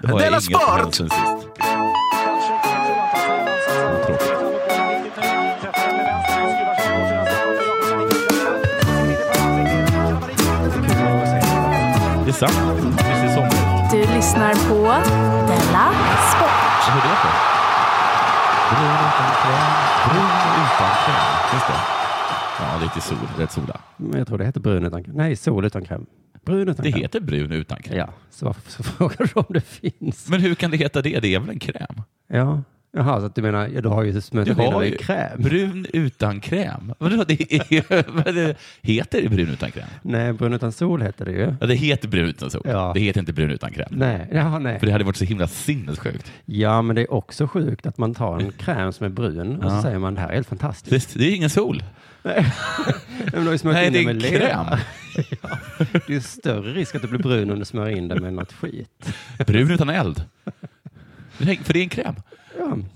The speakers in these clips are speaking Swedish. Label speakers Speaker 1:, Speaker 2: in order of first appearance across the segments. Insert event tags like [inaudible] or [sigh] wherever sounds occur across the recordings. Speaker 1: Det har jag
Speaker 2: Della
Speaker 1: inget med
Speaker 2: Sport!
Speaker 1: om sen sist.
Speaker 3: Det är sant. Det ser sånt ut.
Speaker 4: Du lyssnar på Della Sport.
Speaker 3: Vad hörde jag på? Brun utan kräm. Brun utan kräm. Just det. Ja, lite sol. Rätt sola.
Speaker 5: Men Jag tror det heter brun utan kräm. Nej, sol utan kräm. Brun utan
Speaker 3: Det
Speaker 5: kräm.
Speaker 3: heter brun utan kräm.
Speaker 5: Ja, så varför så [laughs] frågar du om det finns?
Speaker 3: Men hur kan det heta det? Det är väl en kräm?
Speaker 5: Ja, jaha, så att du menar, ja, du har ju smört
Speaker 3: Du
Speaker 5: in den
Speaker 3: har
Speaker 5: i
Speaker 3: ju-
Speaker 5: kräm?
Speaker 3: Brun utan kräm? Vadå, det är, [laughs] vad det, heter det brun utan kräm?
Speaker 5: Nej, brun utan sol heter det ju.
Speaker 3: Ja, det heter brun utan sol.
Speaker 5: Ja.
Speaker 3: Det heter inte brun utan kräm.
Speaker 5: Nej, [laughs] ja, nej.
Speaker 3: För det hade varit så himla sinnessjukt.
Speaker 5: Ja, men det är också sjukt att man tar en kräm som är brun och så säger man det här är helt fantastiskt.
Speaker 3: Det, det är ingen sol.
Speaker 5: Nej, men du har ju smört
Speaker 3: Nej,
Speaker 5: in
Speaker 3: det
Speaker 5: den
Speaker 3: är
Speaker 5: med
Speaker 3: en
Speaker 5: lera.
Speaker 3: kräm.
Speaker 5: Det är ju större risk att du blir brun om du smörjer in den med något skit.
Speaker 3: Brun utan eld. Nej, För det är en kräm.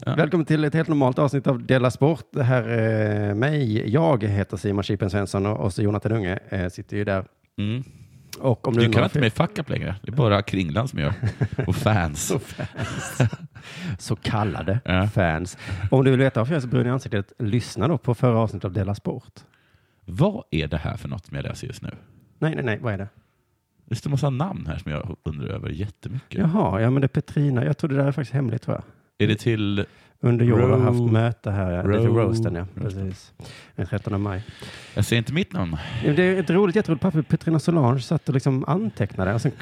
Speaker 5: Ja. Välkommen till ett helt normalt avsnitt av Della Sport. Det här är eh, mig. Jag heter Simon Chippen Svensson och och så Jonathan Unge eh, sitter ju där.
Speaker 3: Mm.
Speaker 5: Och om
Speaker 3: Du
Speaker 5: undrar
Speaker 3: kan inte med fuck up längre. Det är bara Kringland [laughs] som gör. Och fans.
Speaker 5: så kallade
Speaker 3: Ja.
Speaker 5: fans. Om du vill veta varför jag är så brun i ansiktet, lyssna då på förra avsnittet av Della Sport.
Speaker 3: Vad är det här för något som jag läser just nu?
Speaker 5: Nej, nej, nej, vad är det?
Speaker 3: Det står massa namn här som jag undrar över jättemycket.
Speaker 5: Jaha, ja men det är Petrina. Jag tror det där är faktiskt hemligt tror jag.
Speaker 3: Är det till...
Speaker 5: Under jord har
Speaker 3: Row-
Speaker 5: haft möte här, ja. lite
Speaker 3: Row-
Speaker 5: roasten ja.
Speaker 3: roasten.
Speaker 5: Precis. Den 13 maj.
Speaker 3: Jag ser inte mitt namn.
Speaker 5: Det är ett roligt, jätteroligt papper. Petrina Solange satt och liksom antecknade. Och sen,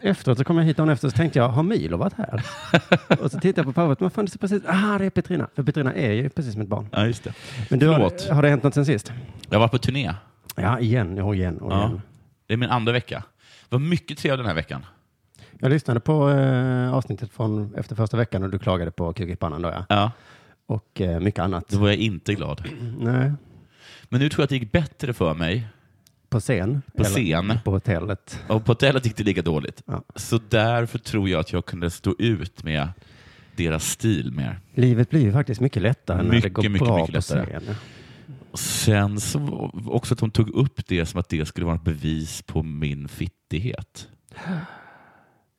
Speaker 5: efteråt så kom jag hit dagen efter och så tänkte jag, har Milo varit här?
Speaker 3: [laughs]
Speaker 5: och så tittade jag på pappret, men fan det ser precis, ah det är Petrina. För Petrina är ju precis som ett barn.
Speaker 3: Ja, just det.
Speaker 5: Men du,
Speaker 3: Förlåt.
Speaker 5: har, har det hänt något sen sist?
Speaker 3: Jag var på turné.
Speaker 5: Ja, igen och igen och
Speaker 3: Ja.
Speaker 5: igen.
Speaker 3: Det är min andra vecka. Det var mycket trevligt den här veckan.
Speaker 5: Jag lyssnade på eh, avsnittet från efter första veckan och du klagade på kuk i pannan då ja.
Speaker 3: Ja,
Speaker 5: Och eh, mycket annat.
Speaker 3: då var jag inte glad.
Speaker 5: Nej,
Speaker 3: Men nu tror jag att det gick bättre för mig.
Speaker 5: på scen.
Speaker 3: På scen.
Speaker 5: På hotellet.
Speaker 3: Och på hotellet gick det lika dåligt.
Speaker 5: Ja.
Speaker 3: Så därför tror jag att jag kunde stå ut med deras stil mer.
Speaker 5: Livet blir ju faktiskt mycket lättare när det
Speaker 3: Mycket,
Speaker 5: går
Speaker 3: mycket,
Speaker 5: bra
Speaker 3: mycket
Speaker 5: på
Speaker 3: lättare.
Speaker 5: scen.
Speaker 3: Sen så var- också att de tog upp det som att det skulle vara ett bevis på min fittighet.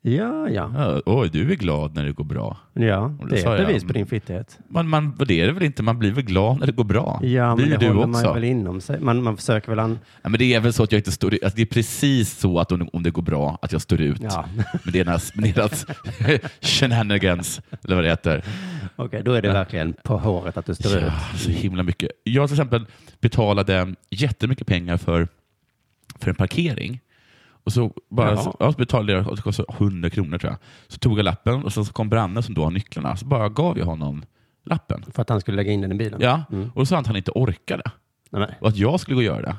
Speaker 5: Ja, ja.
Speaker 3: Ja, Oj, du är glad när det går bra.
Speaker 5: Ja,
Speaker 3: Och då
Speaker 5: det
Speaker 3: sa
Speaker 5: är ett
Speaker 3: jag,
Speaker 5: bevis på din fittighet.
Speaker 3: Man, man, det är det väl inte? Man blir väl glad när det går bra?
Speaker 5: Ja,
Speaker 3: det
Speaker 5: men
Speaker 3: är
Speaker 5: det
Speaker 3: ju du
Speaker 5: håller man
Speaker 3: också.
Speaker 5: ju väl inom sig. Man, man försöker väl an...
Speaker 3: Ja, men det är väl så att jag inte står ut. Alltså, det är precis så att om, om det går bra, att jag står ut.
Speaker 5: Ja.
Speaker 3: Med deras, med deras [laughs] shenanigans, eller vad det heter.
Speaker 5: [laughs] Okej, då är det verkligen på håret att du står ut.
Speaker 3: Ja, så himla mycket. Jag till exempel betalade jättemycket pengar för, för en parkering. Och så, bara,
Speaker 5: Jaha.
Speaker 3: så, ja, så betalade jag, och det kostade 100 kronor tror jag. Så tog jag lappen och sen så kom Branne som då har nycklarna. Så bara gav jag honom lappen.
Speaker 5: För att han skulle lägga in den i bilen.
Speaker 3: Ja, och då sa han att han inte orkade
Speaker 5: Nej, nej.
Speaker 3: och att jag skulle gå och göra det.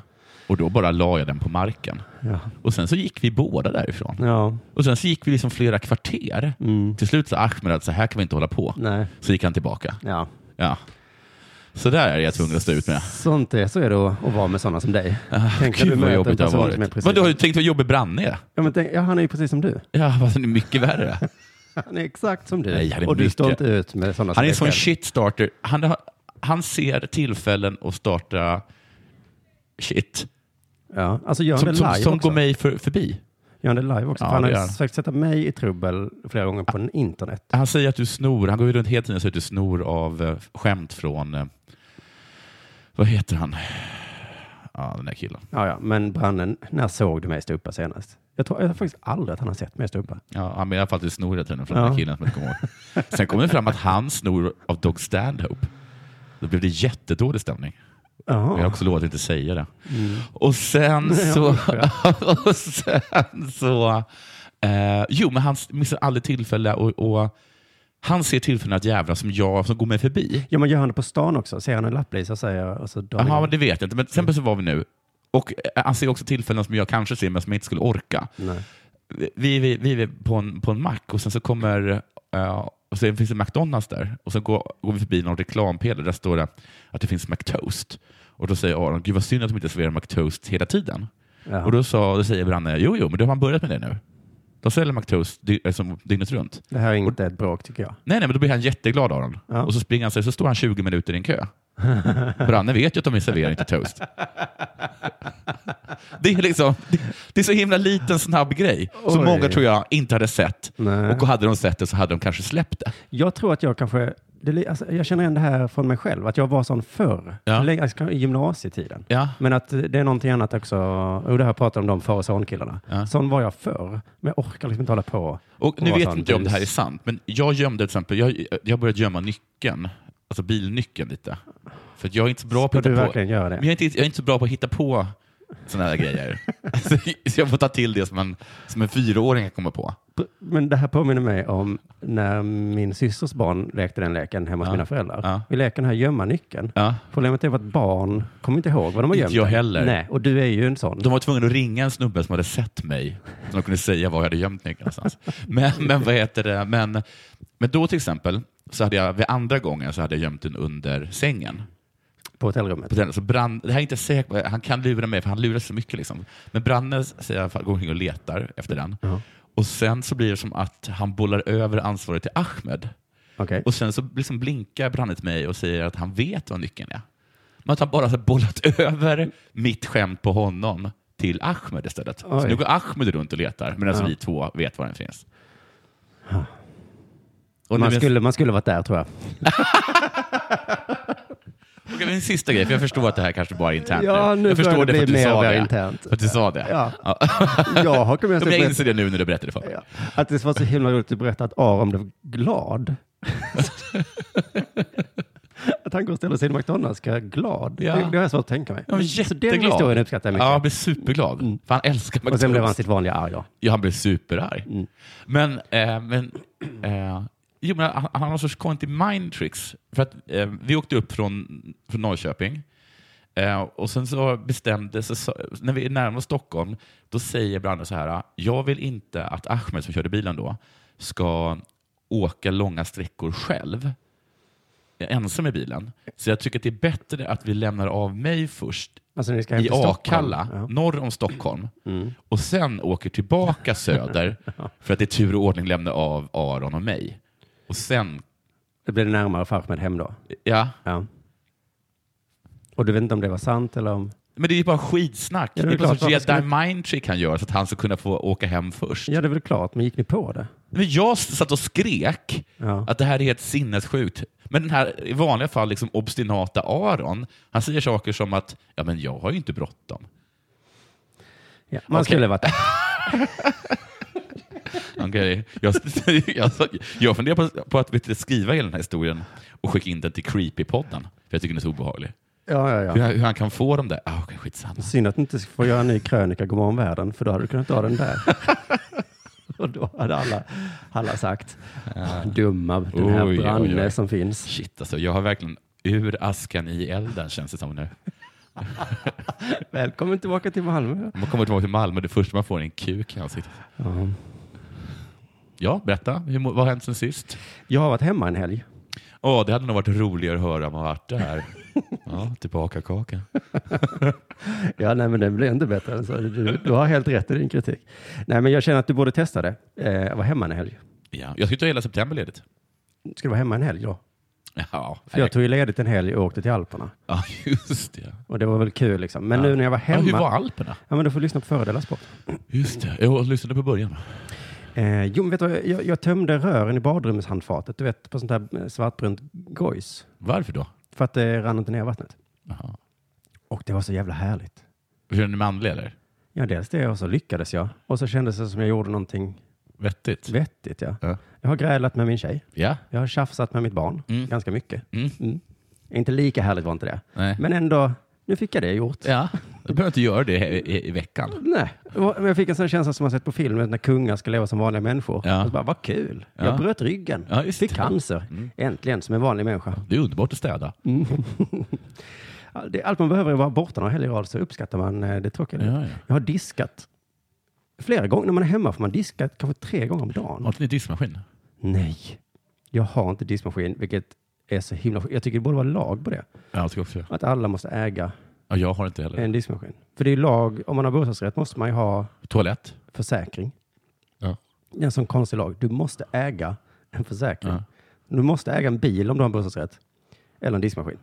Speaker 3: Och då bara la jag den på marken.
Speaker 5: Ja.
Speaker 3: Och sen så gick vi båda därifrån.
Speaker 5: ja.
Speaker 3: Och sen så gick vi liksom flera kvarter. Till slut sa Ahmed att så här kan vi inte hålla på.
Speaker 5: Mm. Nej.
Speaker 3: Så gick han tillbaka.
Speaker 5: Ja.
Speaker 3: Ja. Så där är jag tvungen att stå ut med.
Speaker 5: Sånt är, så är det att, att vara med sådana som dig. Tänk när
Speaker 3: Ah, Gud vad
Speaker 5: möter en
Speaker 3: jobbigt det har
Speaker 5: person som är
Speaker 3: varit.
Speaker 5: precis-
Speaker 3: Vad du har du tänkt vad jobbig Branne är?
Speaker 5: Ja, men tänk, ja, han är ju precis som du.
Speaker 3: Ja, fast han är mycket värre.
Speaker 5: Han är exakt som du.
Speaker 3: Nej, han är
Speaker 5: och du
Speaker 3: mycket-
Speaker 5: står inte ut med sådana som
Speaker 3: Han är en
Speaker 5: dig
Speaker 3: sån
Speaker 5: själv.
Speaker 3: shitstarter. Han, har- han ser tillfällen att starta shit
Speaker 5: Ja, alltså gör han det
Speaker 3: som, som,
Speaker 5: live
Speaker 3: som
Speaker 5: också.
Speaker 3: går mig för, förbi.
Speaker 5: Gör han det live också?
Speaker 3: Ja,
Speaker 5: För han
Speaker 3: det
Speaker 5: har
Speaker 3: gör han.
Speaker 5: ju försökt sätta mig i trubbel flera gånger på en internet.
Speaker 3: Han säger att du snor, han går ju runt hela tiden och säger att du snor av eh, skämt från, eh, vad heter han? Ja, den där killen.
Speaker 5: Ja, ja, men brannen, när såg du mig stå uppe senast? Jag tror jag tror faktiskt aldrig att han har sett mig stå uppe.
Speaker 3: Ja, han menar i alla fall att du snor hela tiden från den där
Speaker 5: Ja.
Speaker 3: killen som jag inte kommer ihåg. Sen kom det fram att han snor av Dog Stanhope. Då blev det jättedålig stämning. Jag har
Speaker 5: Jaha.
Speaker 3: också lovat att inte säga det. Och sen så... [laughs] och sen så eh, jo, men han missar aldrig tillfälle och, och han ser tillfällen att jävla som jag som går mig förbi.
Speaker 5: Ja, men gör han det på stan också? Ser han en lapplisa och säger... Och så drar han
Speaker 3: Jaha, men
Speaker 5: igång.
Speaker 3: det vet jag inte. Men till exempel så var vi nu, och eh, han ser också tillfällen som jag kanske ser men som jag inte skulle orka.
Speaker 5: Nej.
Speaker 3: Vi, vi, vi är på en, på en mack och sen så kommer eh, och sen finns det McDonalds där och sen går, går vi förbi någon reklampelare där står det att det finns McToast. Och då säger Aron, gud vad synd att de inte serverar McToast hela tiden.
Speaker 5: Jaha.
Speaker 3: Och då, sa, då säger Branne, jo, jo, men då har man börjat med det nu. De säljer McToast dy- eh, som dygnet runt.
Speaker 5: Det här är inte ett bråk tycker jag.
Speaker 3: Nej, nej, men då blir han jätteglad av dem.
Speaker 5: Ja.
Speaker 3: Och så springer han sig, så står han 20
Speaker 5: [laughs]
Speaker 3: minuter i en kö. Branne vet ju att de serverar inte toast. det, är liksom, det, det är så himla liten snabb grej som
Speaker 5: Oj.
Speaker 3: många tror jag inte hade sett.
Speaker 5: Nej.
Speaker 3: Och hade de sett det så hade de kanske släppt det.
Speaker 5: Jag tror att jag kanske, det, li- alltså, jag känner igen det här från mig själv, att jag var sån förr,
Speaker 3: Ja.
Speaker 5: Länge- alltså, i gymnasietiden.
Speaker 3: Ja.
Speaker 5: Men att eh, det är någonting annat också, och det här pratar om de far och sonkillarna.
Speaker 3: Ja.
Speaker 5: Sån var jag förr, men jag orkar liksom inte hålla på.
Speaker 3: Och nu
Speaker 5: vara
Speaker 3: vet
Speaker 5: sån
Speaker 3: inte jag om det här är
Speaker 5: bus.
Speaker 3: sant, men jag gömde till exempel, jag, jag började gömma nyckeln, alltså bilnyckeln lite. För att jag är inte så bra på
Speaker 5: Ska
Speaker 3: att
Speaker 5: du
Speaker 3: hitta på,
Speaker 5: verkligen göra
Speaker 3: men
Speaker 5: det?
Speaker 3: jag är inte, jag är inte så bra på att hitta på sådana här [laughs] grejer. så, så jag får ta till det som en, som en fyraåring kan komma på.
Speaker 5: Men det här påminner mig om när min systers barn lekte den leken hemma hos
Speaker 3: Ja.
Speaker 5: mina föräldrar.
Speaker 3: Ja.
Speaker 5: Vi leker den här gömma nyckeln.
Speaker 3: Ja.
Speaker 5: Problemet är att barn kommer inte ihåg vad de har
Speaker 3: Inte
Speaker 5: gömt.
Speaker 3: jag
Speaker 5: den.
Speaker 3: heller.
Speaker 5: Nej, och du är ju en sån.
Speaker 3: De var tvungna att ringa en snubbe som hade sett mig, som de kunde säga var jag hade gömt nyckeln någonstans. Men, men vad heter det? Men, men då till exempel, så hade jag, vid andra gången så hade jag gömt den under sängen.
Speaker 5: På hotellrummet.
Speaker 3: på den. Så brann, det här är inte säkert, på. han kan lura mig för han lurar så mycket. Liksom. Men Branne säger i alla fall, går omkring och letar efter den.
Speaker 5: Ja.
Speaker 3: Och sen så blir det som att han bollar över ansvaret till Ahmed.
Speaker 5: Okej.
Speaker 3: Och sen så liksom blinkar Branne till mig och säger att han vet vad nyckeln är. Men att han bara har bollat [laughs] över mitt skämt på honom till Ahmed istället. Så
Speaker 5: Oj.
Speaker 3: nu går Ahmed runt och letar medan
Speaker 5: Ja.
Speaker 3: vi två vet var den finns. Och
Speaker 5: Man,
Speaker 3: nu-
Speaker 5: skulle, man skulle varit där
Speaker 3: [laughs]
Speaker 5: tror jag.
Speaker 3: Okej, men en sista grej, för jag förstår att det här kanske bara är internt
Speaker 5: Ja, nu
Speaker 3: Jag förstår
Speaker 5: börjar
Speaker 3: det
Speaker 5: det
Speaker 3: för att
Speaker 5: bli
Speaker 3: du
Speaker 5: mer
Speaker 3: sa
Speaker 5: och mer
Speaker 3: det.
Speaker 5: internt.
Speaker 3: För att du sa det.
Speaker 5: Ja.
Speaker 3: [laughs] Ja.
Speaker 5: Jag har kommit
Speaker 3: Ja, men jag
Speaker 5: ens
Speaker 3: inser det nu när du berättade det för mig.
Speaker 5: Ja. Att det var så himla roligt att du berättade att Aron blev glad.
Speaker 3: [laughs]
Speaker 5: att han går och ställer sig i McDonalds ska glad.
Speaker 3: Ja.
Speaker 5: Det, det har jag svårt att tänka mig.
Speaker 3: Jag var
Speaker 5: så
Speaker 3: jätteglad.
Speaker 5: den historien uppskattar jag mycket. Mm.
Speaker 3: Ja, han blev superglad. För han älskar McDonalds.
Speaker 5: och sen blev han sitt vanliga arg. då.
Speaker 3: Ja, han blev superarg. Men, eh, men, eh, jo, men han, han har någon sorts konstig mind tricks. För att, eh, vi åkte upp från, från Norrköping eh, och sen så bestämde så, så, när vi närmade oss Stockholm, då säger Branne så här, jag vill inte att Ahmed som körde bilen då ska åka långa sträckor själv. Jag är ensam i bilen. Så jag tycker att det är bättre att vi lämnar av mig först
Speaker 5: Alltså, när vi ska hem
Speaker 3: i
Speaker 5: till Stockholm.
Speaker 3: Akalla,
Speaker 5: Ja. Mm.
Speaker 3: norr om Stockholm, och sen åker tillbaka
Speaker 5: [laughs]
Speaker 3: söder för att i tur och ordning lämna av Aron och mig. Och sen,
Speaker 5: Det blev närmare Farhmed hem då.
Speaker 3: ja.
Speaker 5: Ja. Och du vet inte om det var sant eller om...
Speaker 3: Men det är ju bara skitsnack.
Speaker 5: Ja,
Speaker 3: det
Speaker 5: det är
Speaker 3: är, bara
Speaker 5: klart,
Speaker 3: som
Speaker 5: varför
Speaker 3: Jedi
Speaker 5: skulle-
Speaker 3: mind trick han gör så att han ska kunna få åka hem först.
Speaker 5: Ja, det är väl klart, men gick ni på det?
Speaker 3: Men jag satt och skrek
Speaker 5: Ja.
Speaker 3: att det här är helt sinnessjukt. Men den här i vanliga fall liksom obstinata Aron, han säger saker som att ja, men jag har ju inte bråttom.
Speaker 5: Ja. Man
Speaker 3: Okej.
Speaker 5: skulle
Speaker 3: [laughs]
Speaker 5: varit där.
Speaker 3: Okay. Jag, jag, jag funderar på, på att vet du, skriva hela den här historien och skicka in den till Creepypodden, för jag tycker den är så obehaglig.
Speaker 5: Ja, ja,
Speaker 3: Hur,
Speaker 5: ja.
Speaker 3: han- hur han kan få dem där? Ah, okay, skitsamma.
Speaker 5: Synd att du inte får göra en ny krönika Godmorgon världen, för då hade du kunnat ta den [laughs] där. och då hade alla, alla sagt, dumma, den här
Speaker 3: Oj, oj,
Speaker 5: Branne
Speaker 3: oj.
Speaker 5: som finns.
Speaker 3: Shit alltså, jag har verkligen ur askan i elden känns det som nu.
Speaker 5: Välkommen tillbaka till Malmö.
Speaker 3: Om man kommer tillbaka till Malmö, det första man får är en kuk i ansiktet. Ja, berätta. Hur, mår- vad har hänt sen sist?
Speaker 5: Jag har varit hemma en helg.
Speaker 3: Åh, det hade nog varit roligare att höra om man varit
Speaker 5: [laughs]
Speaker 3: där. Ja, tillbaka kaka.
Speaker 5: Ja, nej, men det blir inte bättre. än så. du, du har helt rätt i din kritik. Nej, men jag känner att du borde testa det. Eh, jag var hemma en helg.
Speaker 3: Ja, jag ska ta hela september ledigt.
Speaker 5: Ska du vara hemma en helg då?
Speaker 3: Ja,
Speaker 5: För jag tog ju ledigt en helg och åkte till Alperna.
Speaker 3: ja just det.
Speaker 5: Och det var väl kul liksom. Men nu när jag var
Speaker 3: Ja,
Speaker 5: hemma.
Speaker 3: hur var Alperna?
Speaker 5: Ja, men du får lyssna på fördelar sport.
Speaker 3: Just det. Jag lyssnade på början.
Speaker 5: Eh, jo, men vet du, vad? jag, jag tömde rören i badrumshandfatet, du vet, på sånt där eh, svartbrunt gojs.
Speaker 3: Varför då?
Speaker 5: För att det rann inte ner vattnet.
Speaker 3: Jaha.
Speaker 5: Och det var så jävla härligt.
Speaker 3: Känner ni manlig eller?
Speaker 5: Ja, dels det och så lyckades jag. Och så kändes det som jag gjorde någonting
Speaker 3: Vettigt?
Speaker 5: vettigt. Ja.
Speaker 3: Ja.
Speaker 5: Jag har grälat med min tjej.
Speaker 3: Ja.
Speaker 5: Jag har tjafsat med mitt barn
Speaker 3: Mm.
Speaker 5: ganska mycket.
Speaker 3: Mm.
Speaker 5: Mm. Inte lika härligt var inte det.
Speaker 3: Nej.
Speaker 5: Men ändå, nu fick jag det gjort.
Speaker 3: Ja. [laughs] Du behöver inte göra det i, i, i veckan.
Speaker 5: Nej, det var- men jag fick en sån känsla som man sett på film, när kungar ska leva som vanliga människor.
Speaker 3: Ja.
Speaker 5: Och så bara, vad kul.
Speaker 3: Ja.
Speaker 5: Jag bröt ryggen,
Speaker 3: Ja, Mm. just
Speaker 5: fick
Speaker 3: det.
Speaker 5: cancer, äntligen som en vanlig människa.
Speaker 3: Det är underbart att städa.
Speaker 5: Ja, Det, allt man behöver är vara borta några helger i rad så uppskattar man eh, det tråkiga.
Speaker 3: Ja, ja.
Speaker 5: Jag har diskat flera gånger. När man är hemma får man diska kanske tre gånger om dagen.
Speaker 3: Har inte ni diskmaskin?
Speaker 5: Nej, jag har inte diskmaskin, vilket är så himla Jag tycker det borde vara lag på det.
Speaker 3: Ja, jag tycker också Eh.
Speaker 5: Att alla måste äga
Speaker 3: ja, Jag har inte heller.
Speaker 5: en diskmaskin. För det är lag, om man har bostadsrätt måste man ju ha
Speaker 3: Toalett?
Speaker 5: försäkring.
Speaker 3: Ja.
Speaker 5: Det är en sån konstig lag. Du måste äga en försäkring.
Speaker 3: Ja.
Speaker 5: Du måste äga en bil om du har en bostadsrätt. Eller en diskmaskin.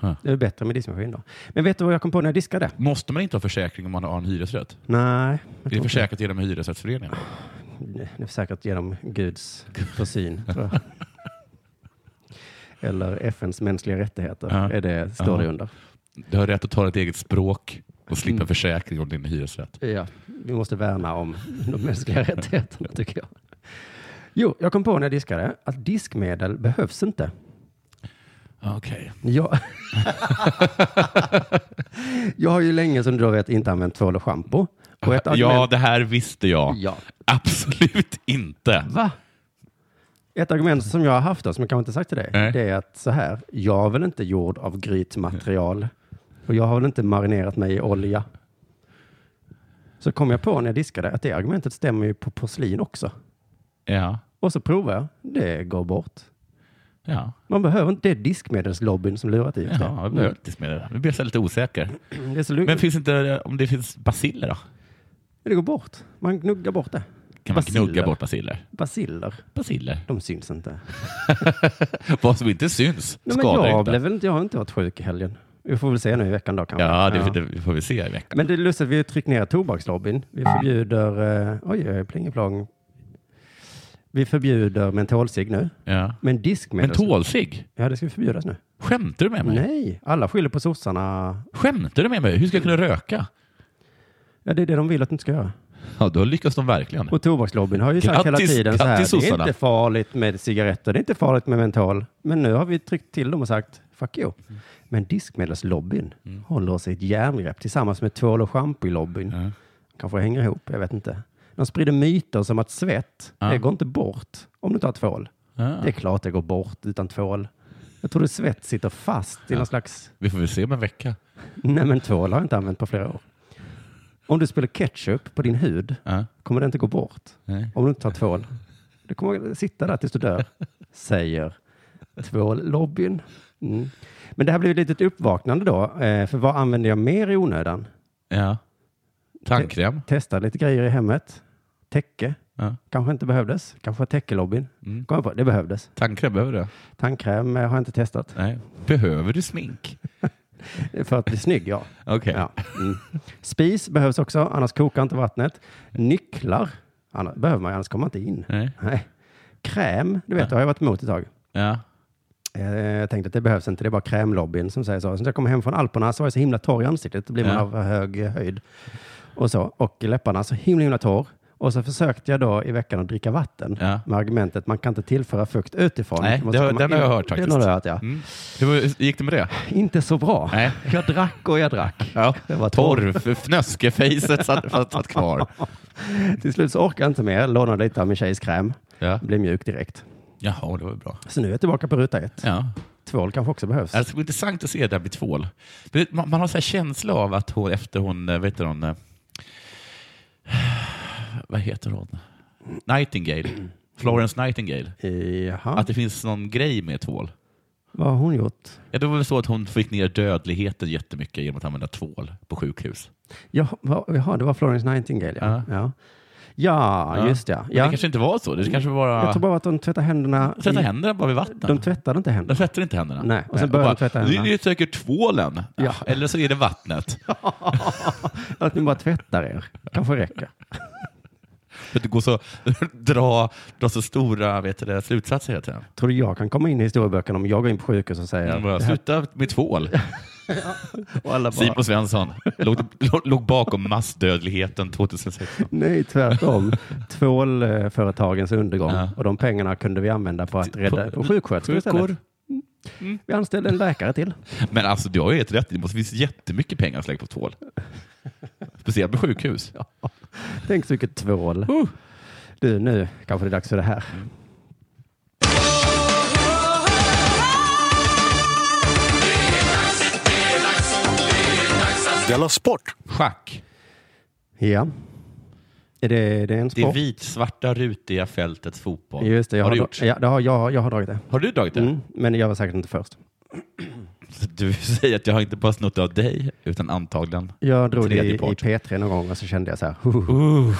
Speaker 3: Ja.
Speaker 5: Det är bättre med diskmaskin då. Men vet du vad jag kom på när jag diskade?
Speaker 3: Måste man inte ha försäkring om man har en hyresrätt?
Speaker 5: Nej,
Speaker 3: Det är försäkrat genom hyresrättsföreningen.
Speaker 5: det är säkert genom Guds
Speaker 3: [laughs]
Speaker 5: försyn. tror jag. Eller FNs mänskliga rättigheter
Speaker 3: Ja.
Speaker 5: är det, står det
Speaker 3: Ja.
Speaker 5: under.
Speaker 3: Du har rätt att tala ett eget språk och slippa försäkring om din hyresrätt.
Speaker 5: Ja, vi måste värna om
Speaker 3: [laughs]
Speaker 5: de mänskliga rättigheterna tycker jag. Jo, jag kom på när jag diskade att diskmedel behövs inte.
Speaker 3: Okej.
Speaker 5: Jag, [laughs] jag har ju länge som du vet inte använt tvål och schampo. Och ett
Speaker 3: Ja,
Speaker 5: argument,
Speaker 3: det här visste jag.
Speaker 5: Ja.
Speaker 3: Absolut inte.
Speaker 5: Va? Ett argument som jag har haft då, som jag kanske inte sagt till dig,
Speaker 3: Nej.
Speaker 5: det är att så här, jag är väl inte gjord av grytmaterial och jag har väl inte marinerat mig i olja. Så kom jag på när jag diskade att det argumentet stämmer ju på porslin också.
Speaker 3: Ja.
Speaker 5: Och så provar jag. Det går bort.
Speaker 3: Ja.
Speaker 5: Man behöver inte. Det är diskmedelslobbyn som lurat i oss det.
Speaker 3: Ja, jag behöver inte med det där. Nu blir jag så här lite osäker.
Speaker 5: Mm. Det är så lugnt.
Speaker 3: Men finns inte, om det finns basiller då?
Speaker 5: Det går bort. Man gnuggar bort det.
Speaker 3: Kan man
Speaker 5: Basiller.
Speaker 3: gnugga bort basiller?
Speaker 5: Basiller,
Speaker 3: Basiller.
Speaker 5: de syns inte.
Speaker 3: Vad som inte syns
Speaker 5: Nej, men
Speaker 3: skadar
Speaker 5: jag,
Speaker 3: inte.
Speaker 5: blev väl inte, jag har inte varit sjuk i helgen. Vi får väl se nu i veckan då kanske.
Speaker 3: Ja, det, det får vi se i veckan.
Speaker 5: Men det är lustigt, vi har tryckt ner tobakslobbyn. Vi förbjuder, eh, oj, oj, plingeplong. Vi förbjuder mentolcigg nu.
Speaker 3: Ja.
Speaker 5: Men
Speaker 3: Men
Speaker 5: diskmedel...
Speaker 3: tålsig?
Speaker 5: Ja, det ska förbjudas nu.
Speaker 3: Skämtar du med mig?
Speaker 5: Nej, alla skyller på sossarna.
Speaker 3: Skämtar du med mig? Hur ska jag kunna röka?
Speaker 5: Ja, det är det de vill att du inte ska göra.
Speaker 3: Ja, då lyckas de verkligen.
Speaker 5: Och tobakslobbyn har ju sagt hela
Speaker 3: Grattis-
Speaker 5: tiden så
Speaker 3: grattis,
Speaker 5: här, det är
Speaker 3: sossarna."
Speaker 5: inte farligt med cigaretter, det är inte farligt med mentol. Men nu har vi tryckt till dem och sagt, fuck you.
Speaker 3: Mm.
Speaker 5: Men diskmedelslobbyn håller oss i ett järngrepp tillsammans med tvål och schampo-lobbyn.
Speaker 3: Ja.
Speaker 5: Kanske hänger ihop, jag vet inte. De sprider myter som att svett,
Speaker 3: Ja.
Speaker 5: det går inte bort om du tar tvål.
Speaker 3: Ja.
Speaker 5: Det är klart det går bort utan tvål. Jag tror att svett sitter fast i någon slags
Speaker 3: Vi får väl se om en vecka.
Speaker 5: Nej, men tvål har jag inte använt på flera år. Om du spiller ketchup på din hud
Speaker 3: Ja.
Speaker 5: kommer det inte gå bort
Speaker 3: Nej.
Speaker 5: om du inte tar tvål. Du kommer sitta där tills du dör, säger tvållobbyn. Mm. Men det här blev ett litet uppvaknande då, eh, för vad använder jag mer i onödan?
Speaker 3: Ja. Tandkräm?
Speaker 5: Testa lite grejer i hemmet. Täcke
Speaker 3: Ja.
Speaker 5: kanske inte behövdes. Kanske var täckelobbyn.
Speaker 3: Mm.
Speaker 5: Kom jag på, det behövdes.
Speaker 3: Tandkräm, behöver du?
Speaker 5: Tandkräm eh, har jag inte testat.
Speaker 3: Nej. Behöver du smink?
Speaker 5: För att bli
Speaker 3: [laughs]
Speaker 5: snygg, ja.
Speaker 3: Okej.
Speaker 5: ja. Mm. Spis behövs också, annars kokar inte vattnet. Nycklar annars, behöver man ju, annars kommer man inte in.
Speaker 3: Nej.
Speaker 5: Nej. Kräm, du vet, det har jag varit emot ett tag.
Speaker 3: Ja.
Speaker 5: Eh, Jag tänkte att det behövs inte, det är bara krämlobbyn som säger så. Sen när jag kom hem från Alperna så var jag så himla torr i ansiktet, då blir man
Speaker 3: Ja.
Speaker 5: av hög eh, höjd. Och så, och i läpparna så himla himla torr. Och så försökte jag då i veckan att dricka vatten
Speaker 3: Ja.
Speaker 5: med argumentet man kan inte tillföra fukt utifrån.
Speaker 3: Nej,
Speaker 5: Det måste
Speaker 3: det har-
Speaker 5: komma
Speaker 3: den har
Speaker 5: in.
Speaker 3: jag hört
Speaker 5: Den
Speaker 3: faktiskt.
Speaker 5: har du hört, ja.
Speaker 3: Mm. Det var, gick det med det?
Speaker 5: Inte så bra.
Speaker 3: Nej.
Speaker 5: Jag drack och jag drack.
Speaker 3: Ja.
Speaker 5: Det var
Speaker 3: Torr, för fnöskefejset satt, satt, satt kvar.
Speaker 5: Till slut så orkade jag inte mer, lånade lite av min tjejs kräm.
Speaker 3: Ja.
Speaker 5: Blev mjuk direkt.
Speaker 3: Jaha, det var bra.
Speaker 5: Så nu är jag tillbaka på ruta ett.
Speaker 3: Ja.
Speaker 5: Tvål kanske också behövs.
Speaker 3: Ja, Det ska bli intressant att se det där med tvål. Det- Man, man har så här känsla av att hon, efter hon, eh, vet du hon, eh, vad heter hon? Nightingale. Florence Nightingale.
Speaker 5: Jaha,
Speaker 3: Att det finns någon grej med tvål.
Speaker 5: vad har hon gjort?
Speaker 3: Ja, det var väl så att hon fick ner dödligheten jättemycket genom att använda tvål på sjukhus.
Speaker 5: Jaha, va- jaha, det var Florence Nightingale. Ja, ja. ja,
Speaker 3: Ja.
Speaker 5: just det.
Speaker 3: Men
Speaker 5: Ja.
Speaker 3: det kanske inte var så. Det kanske bara...
Speaker 5: Jag tror bara att de tvättar händerna.
Speaker 3: Tvätta
Speaker 5: i-
Speaker 3: händerna bara vid vatten.
Speaker 5: De tvättade inte
Speaker 3: De [laughs]
Speaker 5: händerna.
Speaker 3: tvättar inte händerna.
Speaker 5: Nej, och sen börjar
Speaker 3: bara,
Speaker 5: de tvätta händerna.
Speaker 3: Det är ju säkert tvålen.
Speaker 5: Ja.
Speaker 3: [laughs] Eller så är det vattnet.
Speaker 5: Att ni bara tvättar er. Kanske räcker.
Speaker 3: För att det går så, [laughs] dra, dra så stora vet du, det, slutsatser hela tiden.
Speaker 5: Tror du jag kan komma in i historieböckerna om jag går in på sjukhus och säger
Speaker 3: Bara,
Speaker 5: det här-
Speaker 3: Sluta med tvål.
Speaker 5: och alla bara,
Speaker 3: Simon Svensson låg, låg- låg bakom massdödligheten 2016.
Speaker 5: Nej, tvärtom. Tvålföretagens undergång
Speaker 3: Ja.
Speaker 5: och de pengarna kunde vi använda på att rädda på sjuksköterskor istället. Mm.
Speaker 3: Sjukor.
Speaker 5: Vi anställde en läkare till.
Speaker 3: Men alltså, du har ju helt rätt. Det måste finnas jättemycket pengar att lägga på tvål. Speciellt på sjukhus.
Speaker 5: Tänk så mycket tvål.
Speaker 3: Uh.
Speaker 5: Du, nu kanske det är dags för det här.
Speaker 1: Della Sport!
Speaker 3: Schack.
Speaker 5: Ja. Är det, det är en
Speaker 3: Det
Speaker 5: sport?
Speaker 3: vitsvarta rutiga fältets fotboll.
Speaker 5: Just det, jag
Speaker 3: har
Speaker 5: har,
Speaker 3: du
Speaker 5: dra-
Speaker 3: gjort?
Speaker 5: Ja, det har, jag, jag har dragit det.
Speaker 3: Har du dragit det?
Speaker 5: Mm, men jag var säkert inte först.
Speaker 3: Du [laughs] säger att jag har inte bara snott av dig, utan antagligen.
Speaker 5: Jag drog det i,
Speaker 3: Tredje
Speaker 5: i
Speaker 3: part.
Speaker 5: P3 någon gång och så kände jag så här. "Huh, huh."